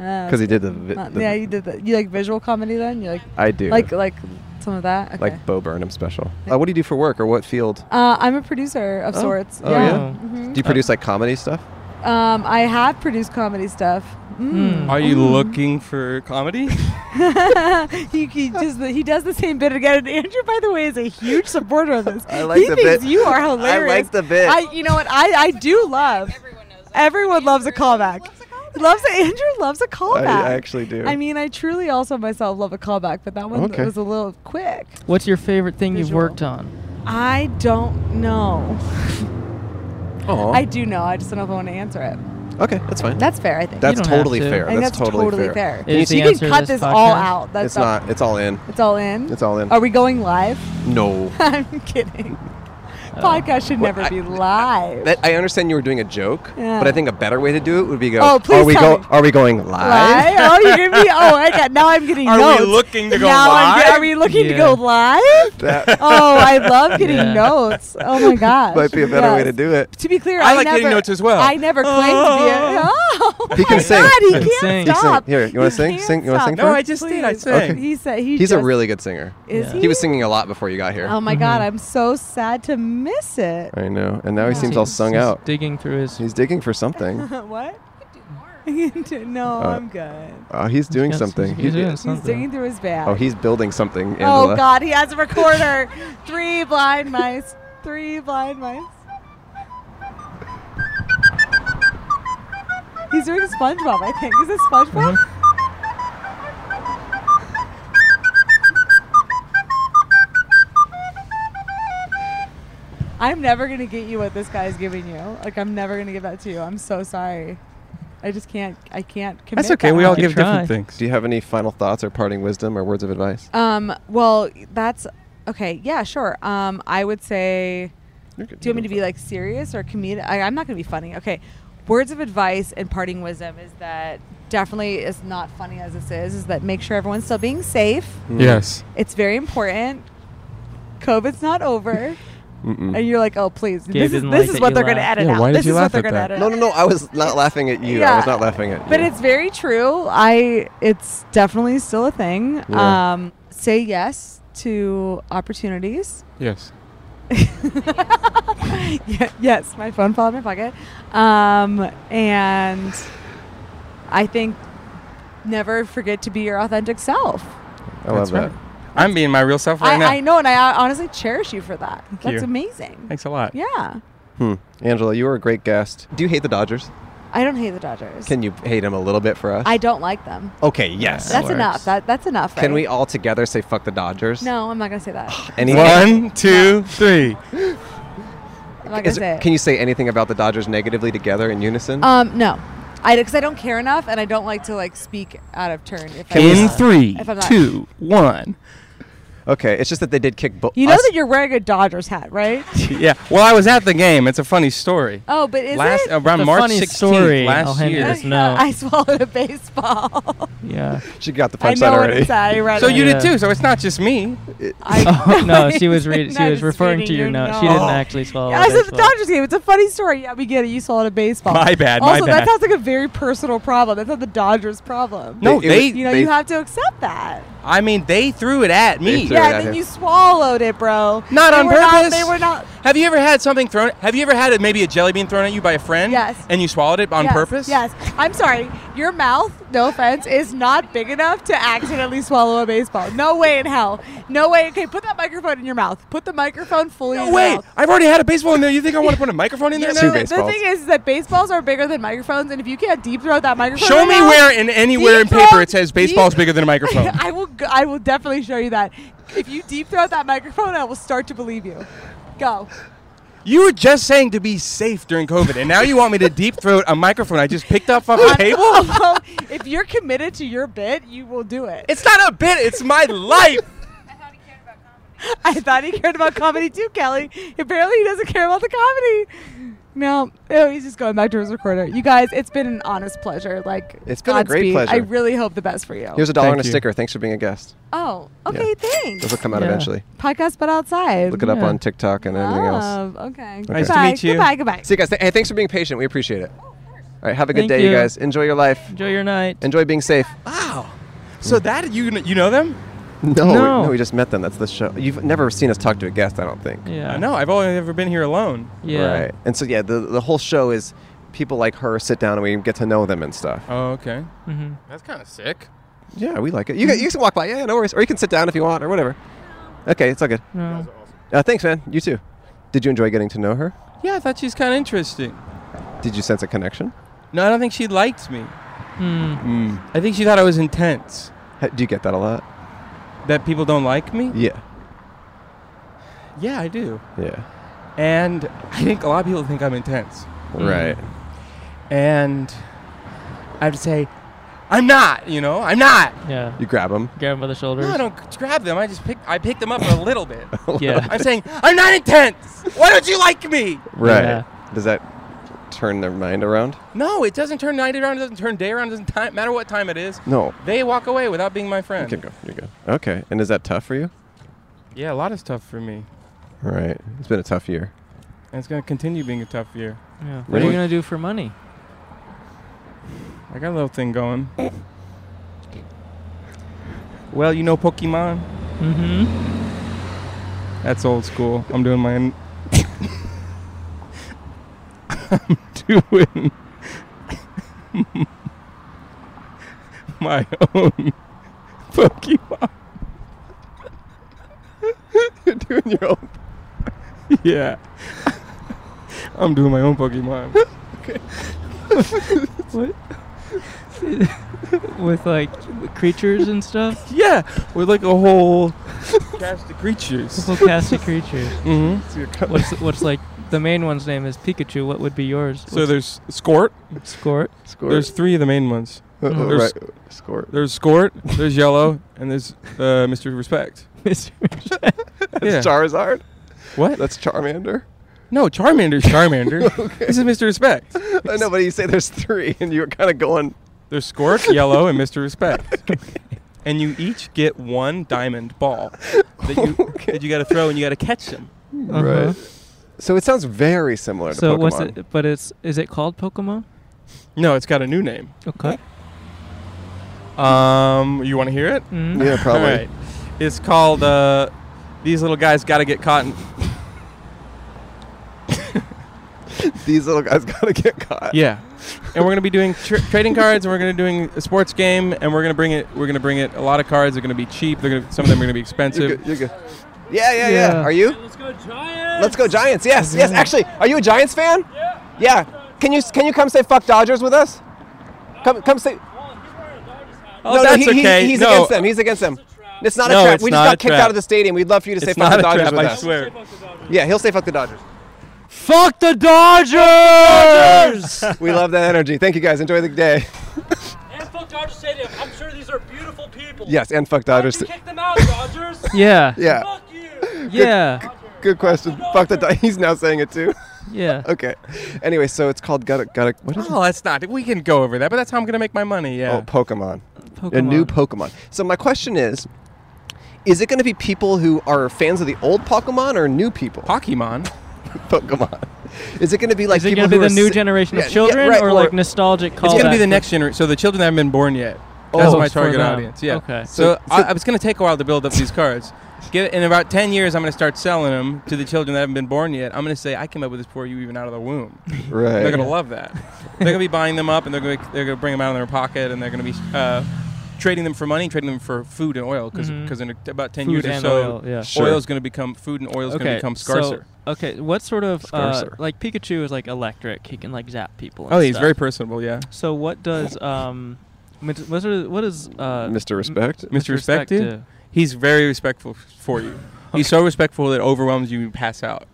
[SPEAKER 11] Uh,
[SPEAKER 2] 'Cause he did the vi-
[SPEAKER 11] not-
[SPEAKER 2] the-
[SPEAKER 11] yeah, you did the. You like visual comedy then? You like?
[SPEAKER 2] I do.
[SPEAKER 11] Like like some of that. Okay.
[SPEAKER 2] Like Bo Burnham special. Uh, what do you do for work or what field?
[SPEAKER 11] Uh, I'm a producer of
[SPEAKER 2] Oh.
[SPEAKER 11] sorts.
[SPEAKER 2] Oh, yeah?
[SPEAKER 11] Mhm.
[SPEAKER 2] Do you produce like comedy stuff?
[SPEAKER 11] Um, I have produced comedy stuff. Mm.
[SPEAKER 1] Hmm.
[SPEAKER 10] Are you looking for comedy?
[SPEAKER 11] he, he does the, he does the same bit again. And Andrew, by the way, is a huge supporter of this.
[SPEAKER 2] I like
[SPEAKER 11] he
[SPEAKER 2] the
[SPEAKER 11] thinks
[SPEAKER 2] bit.
[SPEAKER 11] You are
[SPEAKER 2] I like
[SPEAKER 11] hilarious.
[SPEAKER 2] the bit.
[SPEAKER 11] I, you know what? I, I do love. Everyone knows. Everyone loves a callback. Loves a, Andrew loves a callback.
[SPEAKER 2] actually do.
[SPEAKER 11] I mean, I truly also myself love a callback, but that one
[SPEAKER 2] Okay.
[SPEAKER 11] was a little quick.
[SPEAKER 1] What's your favorite thing you've
[SPEAKER 11] Visual.
[SPEAKER 1] worked on?
[SPEAKER 11] I don't know.
[SPEAKER 2] Oh.
[SPEAKER 11] I do know. I just don't know if I want to answer it.
[SPEAKER 2] okay, that's fine.
[SPEAKER 11] That's fair, I think.
[SPEAKER 2] that's
[SPEAKER 1] don't have
[SPEAKER 2] totally
[SPEAKER 1] to.
[SPEAKER 2] fair.
[SPEAKER 11] I think
[SPEAKER 2] that's, totally, fair.
[SPEAKER 1] Is
[SPEAKER 11] You,
[SPEAKER 1] the
[SPEAKER 11] you
[SPEAKER 1] answer
[SPEAKER 11] can
[SPEAKER 1] to
[SPEAKER 11] cut
[SPEAKER 1] this
[SPEAKER 11] this, all
[SPEAKER 1] podcast?
[SPEAKER 11] out. That's
[SPEAKER 2] it's not. It's all in.
[SPEAKER 11] It's all in.
[SPEAKER 2] It's all in.
[SPEAKER 11] Are we going live?
[SPEAKER 2] No.
[SPEAKER 11] I'm kidding.
[SPEAKER 1] Uh,
[SPEAKER 11] Podcast should
[SPEAKER 2] Well,
[SPEAKER 11] never
[SPEAKER 2] I-
[SPEAKER 11] be live.
[SPEAKER 2] That, I understand you were doing a joke,
[SPEAKER 11] Yeah.
[SPEAKER 2] but I think a better way to do it would be go.
[SPEAKER 11] Oh, please
[SPEAKER 2] are we
[SPEAKER 11] tell
[SPEAKER 2] go?
[SPEAKER 11] me.
[SPEAKER 2] Are we going live?
[SPEAKER 11] live? Oh, you're gonna be. Oh, I got. Now I'm getting
[SPEAKER 10] Are we
[SPEAKER 11] notes.
[SPEAKER 10] looking to go
[SPEAKER 11] now I'm get-
[SPEAKER 10] live?
[SPEAKER 11] are we looking to
[SPEAKER 1] Yeah.
[SPEAKER 11] go live?
[SPEAKER 2] That
[SPEAKER 11] Oh, I love getting
[SPEAKER 1] Yeah.
[SPEAKER 11] notes. Oh my gosh.
[SPEAKER 2] might be a better way
[SPEAKER 11] Yes.
[SPEAKER 2] to do it.
[SPEAKER 11] To be clear, I,
[SPEAKER 10] I like
[SPEAKER 11] never,
[SPEAKER 10] getting notes as well.
[SPEAKER 11] I never claimed to be. A, oh,
[SPEAKER 2] He can
[SPEAKER 11] my
[SPEAKER 2] sing.
[SPEAKER 11] God, he
[SPEAKER 2] He can
[SPEAKER 11] can't
[SPEAKER 1] sing. He
[SPEAKER 2] can sing.
[SPEAKER 11] stop.
[SPEAKER 2] Here, you wanna
[SPEAKER 11] He
[SPEAKER 2] sing?
[SPEAKER 11] can't
[SPEAKER 2] Sing- you wanna
[SPEAKER 11] stop.
[SPEAKER 2] sing
[SPEAKER 10] No, for us? I just did. I
[SPEAKER 11] Please.
[SPEAKER 10] sang.
[SPEAKER 11] He said he
[SPEAKER 2] He's a
[SPEAKER 11] just-
[SPEAKER 2] really good singer.
[SPEAKER 11] Is
[SPEAKER 1] Yeah.
[SPEAKER 11] he?
[SPEAKER 2] He was singing Mm-hmm. a lot before you got here.
[SPEAKER 11] Oh my God, I'm so sad to miss it.
[SPEAKER 2] I know, and now he
[SPEAKER 11] Yeah.
[SPEAKER 2] seems all sung
[SPEAKER 1] He's
[SPEAKER 2] out.
[SPEAKER 1] Digging through his.
[SPEAKER 2] He's digging for something.
[SPEAKER 11] what? no,
[SPEAKER 2] Uh,
[SPEAKER 11] I'm good.
[SPEAKER 2] Oh, he's doing
[SPEAKER 1] got-
[SPEAKER 2] something.
[SPEAKER 1] he's
[SPEAKER 2] He-
[SPEAKER 1] doing
[SPEAKER 11] He's digging through his bag.
[SPEAKER 2] Oh, he's building something, Angela.
[SPEAKER 11] Oh God, he has a recorder. Three blind mice. Three blind mice. He's doing SpongeBob, I think. Is it SpongeBob?
[SPEAKER 10] Mm-hmm.
[SPEAKER 11] I'm never gonna get you what this guy's giving you. Like I'm never gonna give that to you. I'm so sorry. I just can't. I can't commit.
[SPEAKER 10] That's okay.
[SPEAKER 11] that
[SPEAKER 10] We all
[SPEAKER 11] much.
[SPEAKER 1] You
[SPEAKER 10] give different
[SPEAKER 1] try.
[SPEAKER 10] things.
[SPEAKER 2] Do you have any final thoughts or parting wisdom or words of advice?
[SPEAKER 11] Um, well, that's okay. Yeah, sure. Um, I would say,
[SPEAKER 2] You're
[SPEAKER 11] do
[SPEAKER 2] good.
[SPEAKER 11] you want me to be like serious or comedic? I, I'm not going to be funny. Okay. Words of advice and parting wisdom is that definitely is not funny as this is, is that make sure everyone's still being safe.
[SPEAKER 2] Hmm.
[SPEAKER 10] Yes.
[SPEAKER 11] It's very important. COVID's not over.
[SPEAKER 2] Mm-mm.
[SPEAKER 11] And you're like, oh, please.
[SPEAKER 1] Gabe
[SPEAKER 11] this is,
[SPEAKER 1] didn't
[SPEAKER 11] this
[SPEAKER 1] like
[SPEAKER 11] is
[SPEAKER 1] that
[SPEAKER 11] what
[SPEAKER 1] you
[SPEAKER 11] they're going to
[SPEAKER 1] laughed.
[SPEAKER 11] edit
[SPEAKER 10] Yeah,
[SPEAKER 11] out.
[SPEAKER 10] why did
[SPEAKER 11] this
[SPEAKER 10] you
[SPEAKER 11] is what
[SPEAKER 10] laugh
[SPEAKER 11] they're
[SPEAKER 10] at
[SPEAKER 11] going to
[SPEAKER 10] that?
[SPEAKER 11] edit
[SPEAKER 2] No,
[SPEAKER 11] out.
[SPEAKER 2] no, no. I was not laughing at you. I was
[SPEAKER 11] Yeah.
[SPEAKER 2] not laughing at you.
[SPEAKER 11] But it's very true. I it's definitely still a thing.
[SPEAKER 2] Yeah.
[SPEAKER 11] Um, say yes to opportunities.
[SPEAKER 10] Yes.
[SPEAKER 11] Ye- yes, my phone fell out of my pocket. Um, and I think never forget to be your authentic self.
[SPEAKER 2] I love
[SPEAKER 10] That's
[SPEAKER 2] that.
[SPEAKER 10] right. I'm being my real self right
[SPEAKER 11] I,
[SPEAKER 10] now.
[SPEAKER 11] I know, and I honestly cherish you for that. That's
[SPEAKER 10] you.
[SPEAKER 11] amazing.
[SPEAKER 10] Thanks a lot.
[SPEAKER 11] Yeah,
[SPEAKER 2] Hmm. Angela, you were a great guest. Do you hate the Dodgers?
[SPEAKER 11] I don't hate the Dodgers.
[SPEAKER 2] Can you hate them a little bit for us?
[SPEAKER 11] I don't like them.
[SPEAKER 2] okay, yes.
[SPEAKER 11] That's enough. That that's enough.
[SPEAKER 2] Can
[SPEAKER 11] right?
[SPEAKER 2] we all together say fuck the Dodgers?
[SPEAKER 11] No, I'm not gonna say that.
[SPEAKER 2] Any-
[SPEAKER 10] One, two, three.
[SPEAKER 11] I'm not gonna
[SPEAKER 2] Is-
[SPEAKER 11] say it.
[SPEAKER 2] Can you say anything about the Dodgers negatively together in unison?
[SPEAKER 11] Um, no, I because I don't care enough, and I don't like to like speak out of turn. If I
[SPEAKER 10] In
[SPEAKER 11] if
[SPEAKER 10] three,
[SPEAKER 11] I'm not-
[SPEAKER 10] two, one.
[SPEAKER 2] Okay, it's just that they did kick. Bo-
[SPEAKER 11] You know
[SPEAKER 2] us-
[SPEAKER 11] that you're wearing a Dodgers hat, right?
[SPEAKER 10] yeah. Well, I was at the game. It's a funny story.
[SPEAKER 11] Oh, but is
[SPEAKER 10] last,
[SPEAKER 11] it?
[SPEAKER 10] around
[SPEAKER 11] It's a
[SPEAKER 10] March
[SPEAKER 11] funny
[SPEAKER 10] 16th
[SPEAKER 1] story.
[SPEAKER 10] last
[SPEAKER 1] I'll hand you
[SPEAKER 10] year?
[SPEAKER 1] this note.
[SPEAKER 11] I swallowed a baseball.
[SPEAKER 1] Yeah.
[SPEAKER 2] she got the
[SPEAKER 11] I
[SPEAKER 2] punchline
[SPEAKER 11] know what
[SPEAKER 2] already.
[SPEAKER 11] it's at. I read
[SPEAKER 10] So
[SPEAKER 11] it.
[SPEAKER 10] you did too. So it's not just me.
[SPEAKER 1] Oh, no, she was reading. She
[SPEAKER 11] I
[SPEAKER 1] was
[SPEAKER 11] just
[SPEAKER 1] referring to
[SPEAKER 11] reading
[SPEAKER 1] your
[SPEAKER 11] your
[SPEAKER 1] note. She didn't
[SPEAKER 11] note.
[SPEAKER 1] actually swallow.
[SPEAKER 11] I was at the
[SPEAKER 1] baseball.
[SPEAKER 11] Dodgers game. It's a funny story. Yeah, we get it. You swallowed a baseball.
[SPEAKER 10] My bad, my
[SPEAKER 11] Also, that
[SPEAKER 10] bad.
[SPEAKER 11] sounds like a very personal problem. That's not the Dodgers' problem.
[SPEAKER 10] No, They- it they- was-
[SPEAKER 11] you know,
[SPEAKER 10] they-
[SPEAKER 11] you have to accept that.
[SPEAKER 10] I mean, they threw it at me.
[SPEAKER 11] Yeah, and then you swallowed it, bro.
[SPEAKER 10] Not
[SPEAKER 11] They
[SPEAKER 10] on
[SPEAKER 11] were
[SPEAKER 10] purpose.
[SPEAKER 11] they were not.
[SPEAKER 10] Have you ever had something thrown? Have you ever had a, maybe a jelly bean thrown at you by a friend?
[SPEAKER 11] Yes.
[SPEAKER 10] And you swallowed it on
[SPEAKER 11] yes,
[SPEAKER 10] purpose?
[SPEAKER 11] Yes. I'm sorry. Your mouth, no offense, is not big enough to accidentally swallow a baseball. No way in hell. No way. Okay, put that microphone in your mouth. Put the microphone fully in
[SPEAKER 10] No
[SPEAKER 11] your
[SPEAKER 10] way.
[SPEAKER 11] mouth.
[SPEAKER 10] I've already had a baseball in there. You think I want to put a microphone in there? now?
[SPEAKER 11] No, the thing is, is that baseballs are bigger than microphones, and if you can't deep throat that microphone,
[SPEAKER 10] Show
[SPEAKER 11] right
[SPEAKER 10] me
[SPEAKER 11] now-
[SPEAKER 10] where in anywhere in
[SPEAKER 11] Deep
[SPEAKER 10] paper
[SPEAKER 11] throat-
[SPEAKER 10] it says baseball's
[SPEAKER 11] deep-
[SPEAKER 10] bigger than a microphone.
[SPEAKER 11] I will. Go, I will definitely show you that. If you deep throat that microphone, I will start to believe you. Go.
[SPEAKER 10] You were just saying to be safe during COVID, and now you want me to deep throat a microphone I just picked up off a table?
[SPEAKER 11] Although, if you're committed to your bit, you will do it.
[SPEAKER 10] It's not a bit. It's my life.
[SPEAKER 11] I thought he cared about comedy too, Kelly. Apparently, he doesn't care about the comedy. No, oh, he's just going back to his recorder. You guys, it's been an honest pleasure. Like
[SPEAKER 2] It's been a great
[SPEAKER 11] Godspeed.
[SPEAKER 2] pleasure.
[SPEAKER 11] I really hope the best for you.
[SPEAKER 2] Here's a dollar
[SPEAKER 10] Thank
[SPEAKER 2] and a
[SPEAKER 10] you.
[SPEAKER 2] sticker. Thanks for being a guest.
[SPEAKER 11] Oh,
[SPEAKER 2] Yeah.
[SPEAKER 11] okay, thanks.
[SPEAKER 2] Those will come out
[SPEAKER 11] Yeah.
[SPEAKER 2] eventually.
[SPEAKER 11] Podcast, but outside.
[SPEAKER 2] Look it up on TikTok and everything else.
[SPEAKER 11] Love. Okay.
[SPEAKER 2] Nice to
[SPEAKER 11] Goodbye.
[SPEAKER 2] meet you.
[SPEAKER 11] Goodbye. Goodbye.
[SPEAKER 2] See you guys. Th- hey, thanks for being patient. We appreciate it. All right, have a good
[SPEAKER 1] Thank
[SPEAKER 2] day, you
[SPEAKER 1] you.
[SPEAKER 2] guys. Enjoy your life.
[SPEAKER 1] Enjoy your night.
[SPEAKER 2] Enjoy being safe.
[SPEAKER 10] Wow. So that you kn- you know them?
[SPEAKER 2] No, we-
[SPEAKER 10] No.
[SPEAKER 2] no, we just met them. That's the show. You've never seen us talk to a guest, I don't think.
[SPEAKER 10] I know. Uh, I've only ever been here alone.
[SPEAKER 2] Right. And so yeah, the the whole show is people like her sit down and we get to know them and stuff.
[SPEAKER 10] Oh, okay.
[SPEAKER 1] Mhm.
[SPEAKER 10] That's kind of sick.
[SPEAKER 2] Yeah, we like it. You, can- you can walk by. Yeah, no worries. Or you can sit down if you want or whatever. Okay, it's all good.
[SPEAKER 1] No. You guys
[SPEAKER 2] Uh, thanks, man. You too. Did you enjoy getting to know her?
[SPEAKER 10] Yeah, I thought she was kind of interesting.
[SPEAKER 2] Did you sense a connection?
[SPEAKER 10] No, I don't think she liked me.
[SPEAKER 1] Hmm.
[SPEAKER 10] I think she thought I was intense.
[SPEAKER 2] Ha- Do you get that a lot?
[SPEAKER 10] That people don't like me?
[SPEAKER 2] Yeah.
[SPEAKER 10] Yeah, I do.
[SPEAKER 2] Yeah.
[SPEAKER 10] And I think a lot of people think I'm intense.
[SPEAKER 2] Right.
[SPEAKER 10] And I have to say, I'm not, you know? I'm not.
[SPEAKER 1] Yeah.
[SPEAKER 2] You grab them.
[SPEAKER 1] Grab him by the shoulders.
[SPEAKER 10] No, I don't grab them. I just pick I pick them up a little bit.
[SPEAKER 1] Yeah.
[SPEAKER 10] I'm saying, I'm not intense. Why don't you like me?
[SPEAKER 2] Right.
[SPEAKER 1] Yeah.
[SPEAKER 2] Does that turn their mind around?
[SPEAKER 10] No, it doesn't turn night around. It doesn't turn day around. It doesn't ti matter what time it is.
[SPEAKER 2] No.
[SPEAKER 10] They walk away without being my
[SPEAKER 2] You
[SPEAKER 10] friend.
[SPEAKER 2] can go. You go. Okay. And is that tough for you?
[SPEAKER 10] Yeah, a lot of stuff for me.
[SPEAKER 2] Right. It's been a tough year.
[SPEAKER 10] And it's going to continue being a tough year.
[SPEAKER 1] Yeah. What are
[SPEAKER 2] Really?
[SPEAKER 1] you gonna do for money?
[SPEAKER 10] I got a little thing going. Well, you know Pokemon?
[SPEAKER 1] Mm-hmm.
[SPEAKER 10] That's old school. I'm doing my. I'm doing my own Pokemon.
[SPEAKER 2] You're doing your own.
[SPEAKER 10] Yeah. I'm doing my own Pokemon.
[SPEAKER 1] What? With like creatures and stuff.
[SPEAKER 10] yeah, with like a whole cast of creatures.
[SPEAKER 1] Little cast of creatures.
[SPEAKER 10] Mm-hmm.
[SPEAKER 2] So you're cut-
[SPEAKER 1] What's what's like the main one's name is Pikachu. What would be yours?
[SPEAKER 10] So there's Scort.
[SPEAKER 1] What's Scort.
[SPEAKER 2] Score.
[SPEAKER 10] There's three of the main ones.
[SPEAKER 2] Uh, uh,
[SPEAKER 10] there's-
[SPEAKER 2] right. Score.
[SPEAKER 10] There's Scort, there's Yellow, and there's uh, Mr. Respect.
[SPEAKER 1] Mr.
[SPEAKER 2] That's
[SPEAKER 10] yeah.
[SPEAKER 2] Charizard.
[SPEAKER 10] What?
[SPEAKER 2] That's Charmander.
[SPEAKER 10] No, Charmander's Charmander. This is Mr. Respect.
[SPEAKER 2] I know, but you say there's three, and you're kind of going.
[SPEAKER 10] There's Scorch, Yellow, and Mr. Respect. And you each get one diamond ball that you, that you got to throw and you got to catch them.
[SPEAKER 1] Uh-huh.
[SPEAKER 2] So it sounds very similar to
[SPEAKER 1] So
[SPEAKER 2] Pokemon.
[SPEAKER 1] what's it? But it's is it called Pokemon?
[SPEAKER 10] No, it's got a new name.
[SPEAKER 1] Okay.
[SPEAKER 10] Um, you want to hear it?
[SPEAKER 1] Mm.
[SPEAKER 2] Yeah, probably.
[SPEAKER 10] All right. It's called uh, These Little Guys Gotta Get Caught. In,
[SPEAKER 2] These little guys gotta get caught.
[SPEAKER 10] yeah. And we're gonna be doing tr trading cards, and we're gonna be doing a sports game, and we're gonna bring it. We're gonna bring it. A lot of cards are gonna be cheap. They're gonna some of them are gonna be
[SPEAKER 2] You're
[SPEAKER 10] expensive.
[SPEAKER 2] good, you're good. Yeah, yeah, yeah,
[SPEAKER 1] Yeah.
[SPEAKER 2] Are you? Let's go Giants. Let's go Giants. Yes, yes. Actually, are you a Giants fan? Yeah. Yeah. Can you can you come say fuck Dodgers with us? Come come say.
[SPEAKER 10] Oh,
[SPEAKER 2] no,
[SPEAKER 10] that's
[SPEAKER 2] no, he- he-
[SPEAKER 10] okay.
[SPEAKER 2] he's
[SPEAKER 10] no,
[SPEAKER 2] against them. He's against them. It's not
[SPEAKER 10] No,
[SPEAKER 2] a trap.
[SPEAKER 10] it's
[SPEAKER 2] We
[SPEAKER 10] not
[SPEAKER 2] just
[SPEAKER 10] a
[SPEAKER 2] got kicked
[SPEAKER 10] trap.
[SPEAKER 2] out of the stadium. We'd love for you to say
[SPEAKER 10] It's
[SPEAKER 2] fuck the
[SPEAKER 10] not a
[SPEAKER 2] Dodgers
[SPEAKER 10] trap.
[SPEAKER 2] with
[SPEAKER 10] I
[SPEAKER 2] us.
[SPEAKER 10] swear.
[SPEAKER 2] Yeah, he'll say fuck the Dodgers.
[SPEAKER 1] Fuck the Dodgers!
[SPEAKER 2] we love that energy. Thank you guys. Enjoy the day.
[SPEAKER 13] And fuck Dodger Stadium. I'm sure these are beautiful people.
[SPEAKER 2] Yes, and fuck Dodgers.
[SPEAKER 13] Kick them out, Dodgers.
[SPEAKER 1] Yeah.
[SPEAKER 2] yeah. Good-
[SPEAKER 1] Yeah.
[SPEAKER 2] Good, good question. Fuck that. di- He's now saying it too.
[SPEAKER 1] Yeah.
[SPEAKER 2] okay. Anyway, so it's called gotta gotta. What is
[SPEAKER 10] Oh, that's not. We can go over that, but that's how I'm gonna make my money.
[SPEAKER 2] it?
[SPEAKER 10] Yeah.
[SPEAKER 2] Oh, Pokemon. A new Pokemon. So my question is, is it going to be people who are fans of the old Pokemon or new people?
[SPEAKER 10] Pokemon.
[SPEAKER 2] Pokemon. Is it going to be like
[SPEAKER 1] Is it
[SPEAKER 2] people
[SPEAKER 1] going to
[SPEAKER 2] who
[SPEAKER 1] be
[SPEAKER 2] are
[SPEAKER 1] the new
[SPEAKER 2] si-
[SPEAKER 1] generation
[SPEAKER 2] Yeah,
[SPEAKER 1] of
[SPEAKER 2] yeah,
[SPEAKER 1] children
[SPEAKER 2] right,
[SPEAKER 1] or, like nostalgic
[SPEAKER 10] It's
[SPEAKER 1] callback?
[SPEAKER 10] gonna be the next generation. So the children that haven't been born yet. That's
[SPEAKER 1] Oh,
[SPEAKER 10] my
[SPEAKER 1] it's for
[SPEAKER 10] target
[SPEAKER 1] them.
[SPEAKER 10] audience. Yeah.
[SPEAKER 1] Okay.
[SPEAKER 10] So,
[SPEAKER 1] So-
[SPEAKER 10] I, I was gonna take a while to build up these cards. Get, in about ten years, I'm gonna start selling them to the children that haven't been born yet. I'm gonna say I came up with this before you even out of the womb.
[SPEAKER 2] Right.
[SPEAKER 10] They're gonna
[SPEAKER 2] Yeah.
[SPEAKER 10] love that. They're gonna be buying them up, and they're gonna they're gonna bring them out in their pocket, and they're gonna be uh, trading them for money, trading them for food and oil, because
[SPEAKER 1] Mhm.
[SPEAKER 10] in about ten
[SPEAKER 1] Food
[SPEAKER 10] years or
[SPEAKER 1] and
[SPEAKER 10] so,
[SPEAKER 1] oil, yeah.
[SPEAKER 10] Mm-hmm. oil
[SPEAKER 1] Sure.
[SPEAKER 10] is gonna become food and oil is gonna
[SPEAKER 1] Okay,
[SPEAKER 10] become
[SPEAKER 1] so-
[SPEAKER 10] scarcer.
[SPEAKER 1] okay, what sort of uh,
[SPEAKER 10] Scarcer.
[SPEAKER 1] like Pikachu is like electric? He can like zap people. and
[SPEAKER 10] Oh, he's
[SPEAKER 1] stuff.
[SPEAKER 10] very personable, yeah.
[SPEAKER 1] So what does um, mit- what are- what is uh,
[SPEAKER 2] Mr. Respect?
[SPEAKER 1] m-
[SPEAKER 10] Mr. Respect, dude,
[SPEAKER 1] do?
[SPEAKER 10] he's very respectful f- for you. He's so respectful that it overwhelms you and you pass out.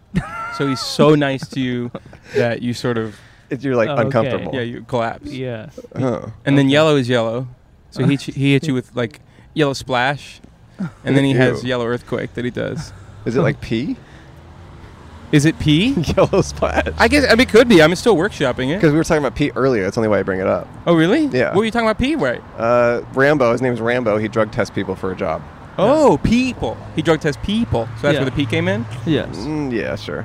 [SPEAKER 10] so he's so nice to you that you sort of
[SPEAKER 2] If you're like
[SPEAKER 10] Okay.
[SPEAKER 2] uncomfortable.
[SPEAKER 10] Yeah, you collapse.
[SPEAKER 1] Yeah.
[SPEAKER 2] Oh.
[SPEAKER 10] And then yellow is yellow. So he ch- he hits you with like yellow splash, and then he has
[SPEAKER 2] Ew.
[SPEAKER 10] yellow earthquake that he does.
[SPEAKER 2] Is it like pee?
[SPEAKER 10] Is it pee?
[SPEAKER 2] Yellow splash.
[SPEAKER 10] I guess I mean, it could be. I'm still workshopping it.
[SPEAKER 2] Because we were talking about pee earlier. That's the only why I bring it up.
[SPEAKER 10] Oh really?
[SPEAKER 2] Yeah.
[SPEAKER 10] What were you talking about pee? Right.
[SPEAKER 2] Uh, Rambo. His name is Rambo. He drug tests people for a job.
[SPEAKER 10] Oh, people. He drug tests people. So that's
[SPEAKER 2] Yeah.
[SPEAKER 10] where the P came in.
[SPEAKER 1] Yes.
[SPEAKER 2] Mm, yeah. Sure.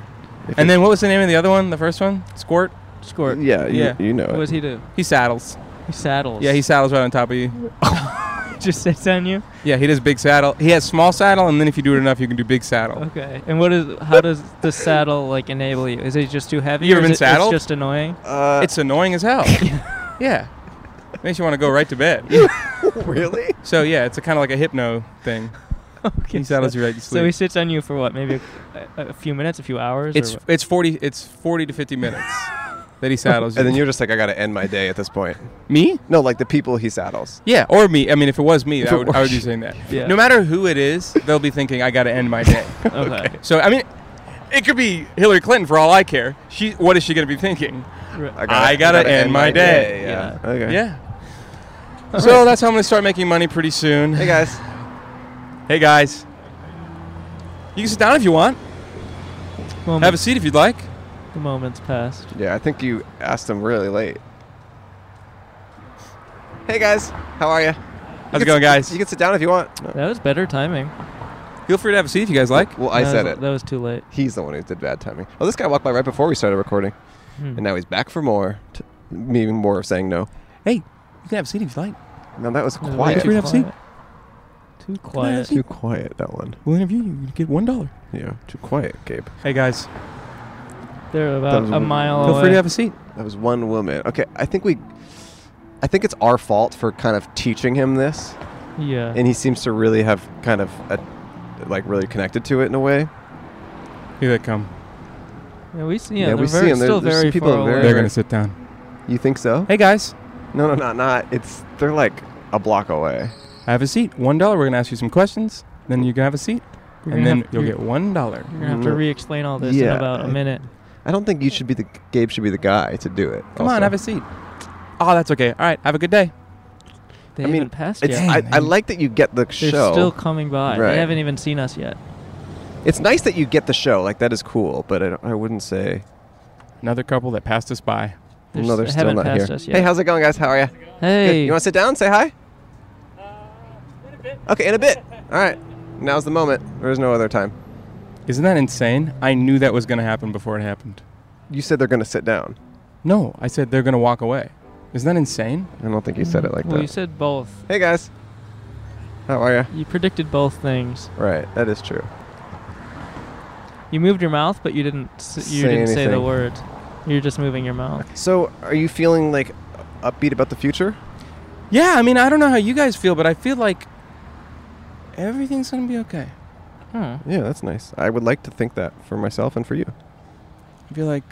[SPEAKER 2] If
[SPEAKER 10] And
[SPEAKER 2] it-
[SPEAKER 10] then what was the name of the other one? The first one? Squirt.
[SPEAKER 1] Squirt.
[SPEAKER 2] Yeah, you- you know What it.
[SPEAKER 1] does he do?
[SPEAKER 10] He saddles.
[SPEAKER 1] He saddles.
[SPEAKER 10] Yeah, he saddles right on top of you.
[SPEAKER 1] just sits on you.
[SPEAKER 10] Yeah, he does big saddle. He has small saddle, and then if you do it enough, you can do big saddle.
[SPEAKER 1] Okay. And what is how does the saddle like enable you? Is it just too heavy?
[SPEAKER 10] You
[SPEAKER 1] or
[SPEAKER 10] ever
[SPEAKER 1] is
[SPEAKER 10] been
[SPEAKER 1] it,
[SPEAKER 10] saddled?
[SPEAKER 1] It's just annoying.
[SPEAKER 2] Uh,
[SPEAKER 10] it's annoying as hell. yeah. Makes you want to go right to bed.
[SPEAKER 2] really?
[SPEAKER 10] So yeah, it's a kind of like a hypno thing.
[SPEAKER 1] Okay,
[SPEAKER 10] He saddles
[SPEAKER 1] so-
[SPEAKER 10] you right to
[SPEAKER 1] So he
[SPEAKER 10] sleep.
[SPEAKER 1] sits on you for what? Maybe a, a, a few minutes, a few hours. or
[SPEAKER 10] It's
[SPEAKER 1] what?
[SPEAKER 10] it's forty it's forty to fifty minutes that he saddles you.
[SPEAKER 2] And then you're just like, I gotta end my day at this point.
[SPEAKER 10] Me?
[SPEAKER 2] No, like the people he saddles.
[SPEAKER 10] Yeah, or me. I mean, if it was me,
[SPEAKER 2] If
[SPEAKER 10] I
[SPEAKER 2] it
[SPEAKER 10] would, I would
[SPEAKER 2] was
[SPEAKER 10] be
[SPEAKER 2] you.
[SPEAKER 10] saying that.
[SPEAKER 2] Yeah.
[SPEAKER 10] No matter who it is, they'll be thinking, I got to end my day.
[SPEAKER 1] Okay.
[SPEAKER 10] So, I mean, it could be Hillary Clinton for all I care. She, What is she going to be thinking?
[SPEAKER 1] Right.
[SPEAKER 10] I got to end, my day.
[SPEAKER 2] Yeah. Okay.
[SPEAKER 10] Yeah. So that's how I'm going to start making money pretty soon. Hey,
[SPEAKER 2] guys.
[SPEAKER 10] Hey, guys. You can sit down if you want.
[SPEAKER 1] Moment.
[SPEAKER 10] Have a seat if you'd like.
[SPEAKER 1] The moment's passed.
[SPEAKER 2] Yeah, I think you asked him really late. Hey guys, how are you?
[SPEAKER 10] How's it going, guys?
[SPEAKER 2] You can sit down if you want. No.
[SPEAKER 1] That was better timing.
[SPEAKER 10] Feel free to have a seat if you guys like.
[SPEAKER 2] Well, I
[SPEAKER 1] That
[SPEAKER 2] said
[SPEAKER 1] was-
[SPEAKER 2] it.
[SPEAKER 1] That was too late.
[SPEAKER 2] He's the one who did bad timing. Well, this guy walked by right before we started recording,
[SPEAKER 1] Hmm.
[SPEAKER 2] and now he's back for more. T- me even more saying no.
[SPEAKER 10] Hey, you can have a seat if you'd like.
[SPEAKER 2] No, that was
[SPEAKER 1] It was way
[SPEAKER 2] quiet.
[SPEAKER 1] too
[SPEAKER 10] Free to have a seat.
[SPEAKER 1] quiet. Too
[SPEAKER 10] have a
[SPEAKER 1] quiet.
[SPEAKER 10] seat?
[SPEAKER 2] Too quiet. That one.
[SPEAKER 10] We'll interview you. You get $1.
[SPEAKER 2] Yeah, too quiet, Gabe.
[SPEAKER 10] Hey, guys.
[SPEAKER 1] They're
[SPEAKER 2] That
[SPEAKER 1] about
[SPEAKER 2] was
[SPEAKER 1] a
[SPEAKER 2] one-
[SPEAKER 1] mile away.
[SPEAKER 10] seat.
[SPEAKER 2] That was one woman. Okay, I think we. I think it's our fault for kind of teaching him this.
[SPEAKER 1] Yeah.
[SPEAKER 2] And he seems to really have kind of, a, like, really connected to it in a way.
[SPEAKER 10] Here they come.
[SPEAKER 1] Yeah, we see. Yeah, they're
[SPEAKER 2] we see
[SPEAKER 1] very,
[SPEAKER 2] 'em. There-
[SPEAKER 1] still
[SPEAKER 2] there's
[SPEAKER 1] very
[SPEAKER 2] people
[SPEAKER 1] far
[SPEAKER 2] in there.
[SPEAKER 1] away.
[SPEAKER 10] They're going to sit down.
[SPEAKER 2] You think so?
[SPEAKER 10] Hey guys.
[SPEAKER 2] No, no, not not. It's they're like a block away.
[SPEAKER 10] Have a seat. One dollar. We're gonna ask you some questions. Then you can have a seat,
[SPEAKER 1] You're gonna
[SPEAKER 10] and then
[SPEAKER 1] have-
[SPEAKER 10] you'll
[SPEAKER 1] you're-
[SPEAKER 10] get one dollar.
[SPEAKER 1] You're gonna have to
[SPEAKER 2] Mm.
[SPEAKER 1] re-explain all this in
[SPEAKER 2] Yeah,
[SPEAKER 1] about a
[SPEAKER 2] I-
[SPEAKER 1] minute.
[SPEAKER 2] I don't think you should be the Gabe should be the guy to do it.
[SPEAKER 10] Come on,
[SPEAKER 2] also.
[SPEAKER 10] have a seat. Oh, that's okay. All right. Have a good day.
[SPEAKER 1] They
[SPEAKER 2] I mean,
[SPEAKER 1] haven't passed
[SPEAKER 2] it's,
[SPEAKER 1] yet.
[SPEAKER 2] I, I like that you get the
[SPEAKER 1] They're
[SPEAKER 2] show.
[SPEAKER 1] still coming by.
[SPEAKER 2] Right.
[SPEAKER 1] They haven't even seen us yet.
[SPEAKER 2] It's nice that you get the show. Like that is cool, but I, don't- I wouldn't say
[SPEAKER 10] Another couple that passed us by.
[SPEAKER 1] They're
[SPEAKER 2] no.
[SPEAKER 1] s-
[SPEAKER 2] They're
[SPEAKER 1] they
[SPEAKER 2] still
[SPEAKER 1] haven't
[SPEAKER 2] not
[SPEAKER 1] passed
[SPEAKER 2] here.
[SPEAKER 1] us
[SPEAKER 2] Hey,
[SPEAKER 1] yet.
[SPEAKER 2] how's it going, guys? How are you?
[SPEAKER 1] Hey.
[SPEAKER 2] you want to sit down? Say hi. Okay, in a bit. All right. Now's the moment. There's no other time.
[SPEAKER 10] Isn't that insane? I knew that was gonna happen before it happened.
[SPEAKER 2] You said they're going to sit down.
[SPEAKER 10] No, I said they're gonna walk away. Isn't that insane?
[SPEAKER 2] I don't think you said it like
[SPEAKER 1] well, you
[SPEAKER 2] that.
[SPEAKER 1] said both.
[SPEAKER 2] Hey guys. How are you?
[SPEAKER 1] You predicted both things.
[SPEAKER 2] Right. That is true.
[SPEAKER 1] You moved your mouth, but you didn't. s- You
[SPEAKER 2] Say
[SPEAKER 1] didn't say the
[SPEAKER 2] anything.
[SPEAKER 1] word. You're just moving your mouth.
[SPEAKER 2] So, are you feeling like upbeat about the future?
[SPEAKER 10] Yeah. I mean, I don't know how you guys feel, but I feel like everything's gonna be okay. Oh.
[SPEAKER 1] Hmm.
[SPEAKER 2] Yeah, that's nice. I would like to think that for myself and for you.
[SPEAKER 10] I feel like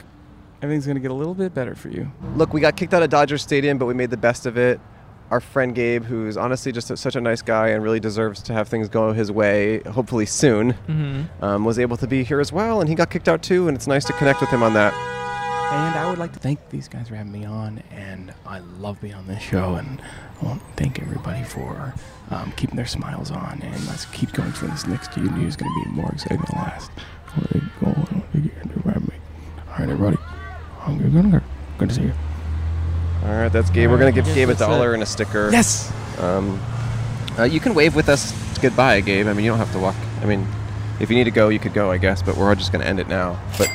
[SPEAKER 10] everything's gonna get a little bit better for you.
[SPEAKER 2] Look, we got kicked out of Dodger Stadium, but we made the best of it. Our friend Gabe, who's honestly just such a nice guy and really deserves to have things go his way, hopefully soon,
[SPEAKER 1] Mhm.
[SPEAKER 2] um, was able to be here as well, and he got kicked out too, and it's nice to connect with him on that.
[SPEAKER 10] And I would like to thank these guys for having me on, and I love being on this show, and I want to thank everybody for um, keeping their smiles on, and let's keep going for this next year. New is going to be more exciting than the last. All right, go on, you can do right, mate. All right, everybody, I'm gonna go. Good to see you.
[SPEAKER 2] All right, that's Gabe. We're
[SPEAKER 10] All
[SPEAKER 2] gonna
[SPEAKER 10] right,
[SPEAKER 2] give
[SPEAKER 10] I guess
[SPEAKER 2] Gabe a
[SPEAKER 10] that's it.
[SPEAKER 2] dollar and a sticker.
[SPEAKER 10] Yes.
[SPEAKER 2] Um, uh, you can wave with us goodbye, Gabe. I mean, you don't have to walk. I mean, if you need to go, you could go, I guess. But we're just gonna end it now. But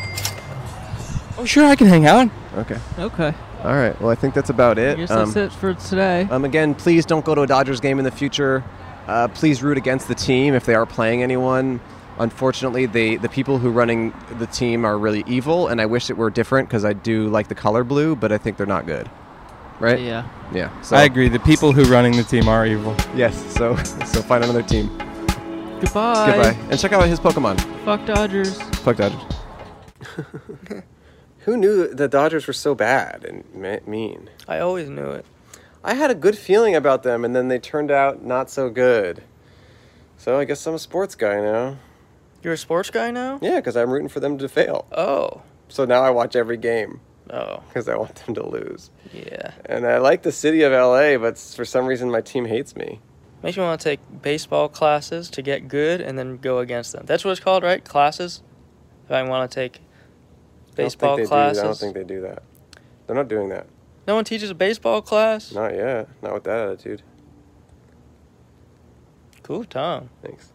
[SPEAKER 10] Oh, sure, I can hang out.
[SPEAKER 2] okay.
[SPEAKER 10] Okay.
[SPEAKER 2] All right. Well, I think that's about it.
[SPEAKER 10] guess
[SPEAKER 2] Um,
[SPEAKER 10] that's it for today.
[SPEAKER 2] Um, again, please don't go to a Dodgers game in the future. Uh, please root against the team if they are playing anyone. Unfortunately, they, the people who running the team are really evil, and I wish it were different because I do like the color blue, but I think they're not good. Right?
[SPEAKER 1] Yeah.
[SPEAKER 2] Yeah.
[SPEAKER 10] I agree. The people who running the team are evil.
[SPEAKER 2] Yes. So so find another team.
[SPEAKER 1] Goodbye.
[SPEAKER 2] Goodbye. And check out his Pokemon.
[SPEAKER 1] Fuck Dodgers.
[SPEAKER 2] Fuck Dodgers. Who knew the Dodgers were so bad and ma- mean?
[SPEAKER 14] I always knew it.
[SPEAKER 2] I had a good feeling about them, and then they turned out not so good. So I guess I'm a sports guy now.
[SPEAKER 14] You're a sports guy now?
[SPEAKER 2] Yeah, because I'm rooting for them to fail.
[SPEAKER 14] Oh.
[SPEAKER 2] So now I watch every game.
[SPEAKER 14] Oh.
[SPEAKER 2] Because I want them to lose.
[SPEAKER 14] Yeah.
[SPEAKER 2] And I like the city of LA, but s- for some reason my team hates me.
[SPEAKER 14] Makes me want to take baseball classes to get good and then go against them. That's what it's called, right? Classes? If I want to take
[SPEAKER 2] I
[SPEAKER 14] baseball
[SPEAKER 2] don't think they
[SPEAKER 14] classes.
[SPEAKER 2] Do, I don't think they do that. They're not doing that.
[SPEAKER 14] No one teaches a baseball class?
[SPEAKER 2] Not yet. Not with that attitude.
[SPEAKER 14] Cool, Tom.
[SPEAKER 2] Thanks.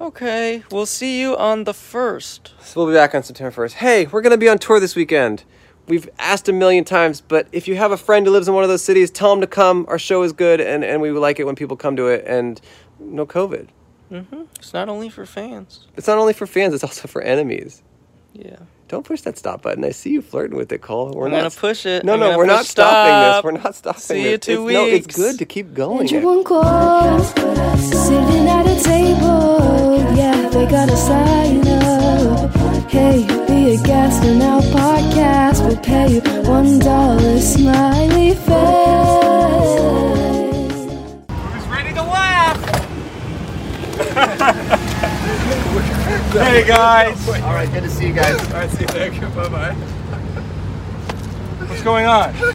[SPEAKER 14] Okay, we'll see you on the 1st.
[SPEAKER 2] So we'll be back on September 1st. Hey, we're going to be on tour this weekend. We've asked a million times, but if you have a friend who lives in one of those cities, tell them to come. Our show is good, and, and we like it when people come to it, and no COVID.
[SPEAKER 14] Mm-hmm. It's not only for fans.
[SPEAKER 2] It's not only for fans, it's also for enemies.
[SPEAKER 14] Yeah.
[SPEAKER 2] Don't push that stop button. I see you flirting with it, Cole. We're
[SPEAKER 14] I'm
[SPEAKER 2] not
[SPEAKER 14] gonna push it.
[SPEAKER 2] No,
[SPEAKER 14] I'm
[SPEAKER 2] no,
[SPEAKER 14] gonna
[SPEAKER 2] we're not
[SPEAKER 14] push
[SPEAKER 2] stopping this.
[SPEAKER 14] stop.
[SPEAKER 2] We're not stopping
[SPEAKER 14] See
[SPEAKER 2] this.
[SPEAKER 14] you two
[SPEAKER 2] it's, No, it's
[SPEAKER 14] weeks.
[SPEAKER 2] good to keep going.
[SPEAKER 3] And you won't call, sitting at a table. Yeah, they gotta sign up. Hey, be a guest on our podcast. We'll pay you one dollar, smiley face.
[SPEAKER 13] Who's ready to laugh?
[SPEAKER 15] Hey, guys.
[SPEAKER 13] All right, good to see you guys. All right, see you later. Bye bye.
[SPEAKER 10] What's going on?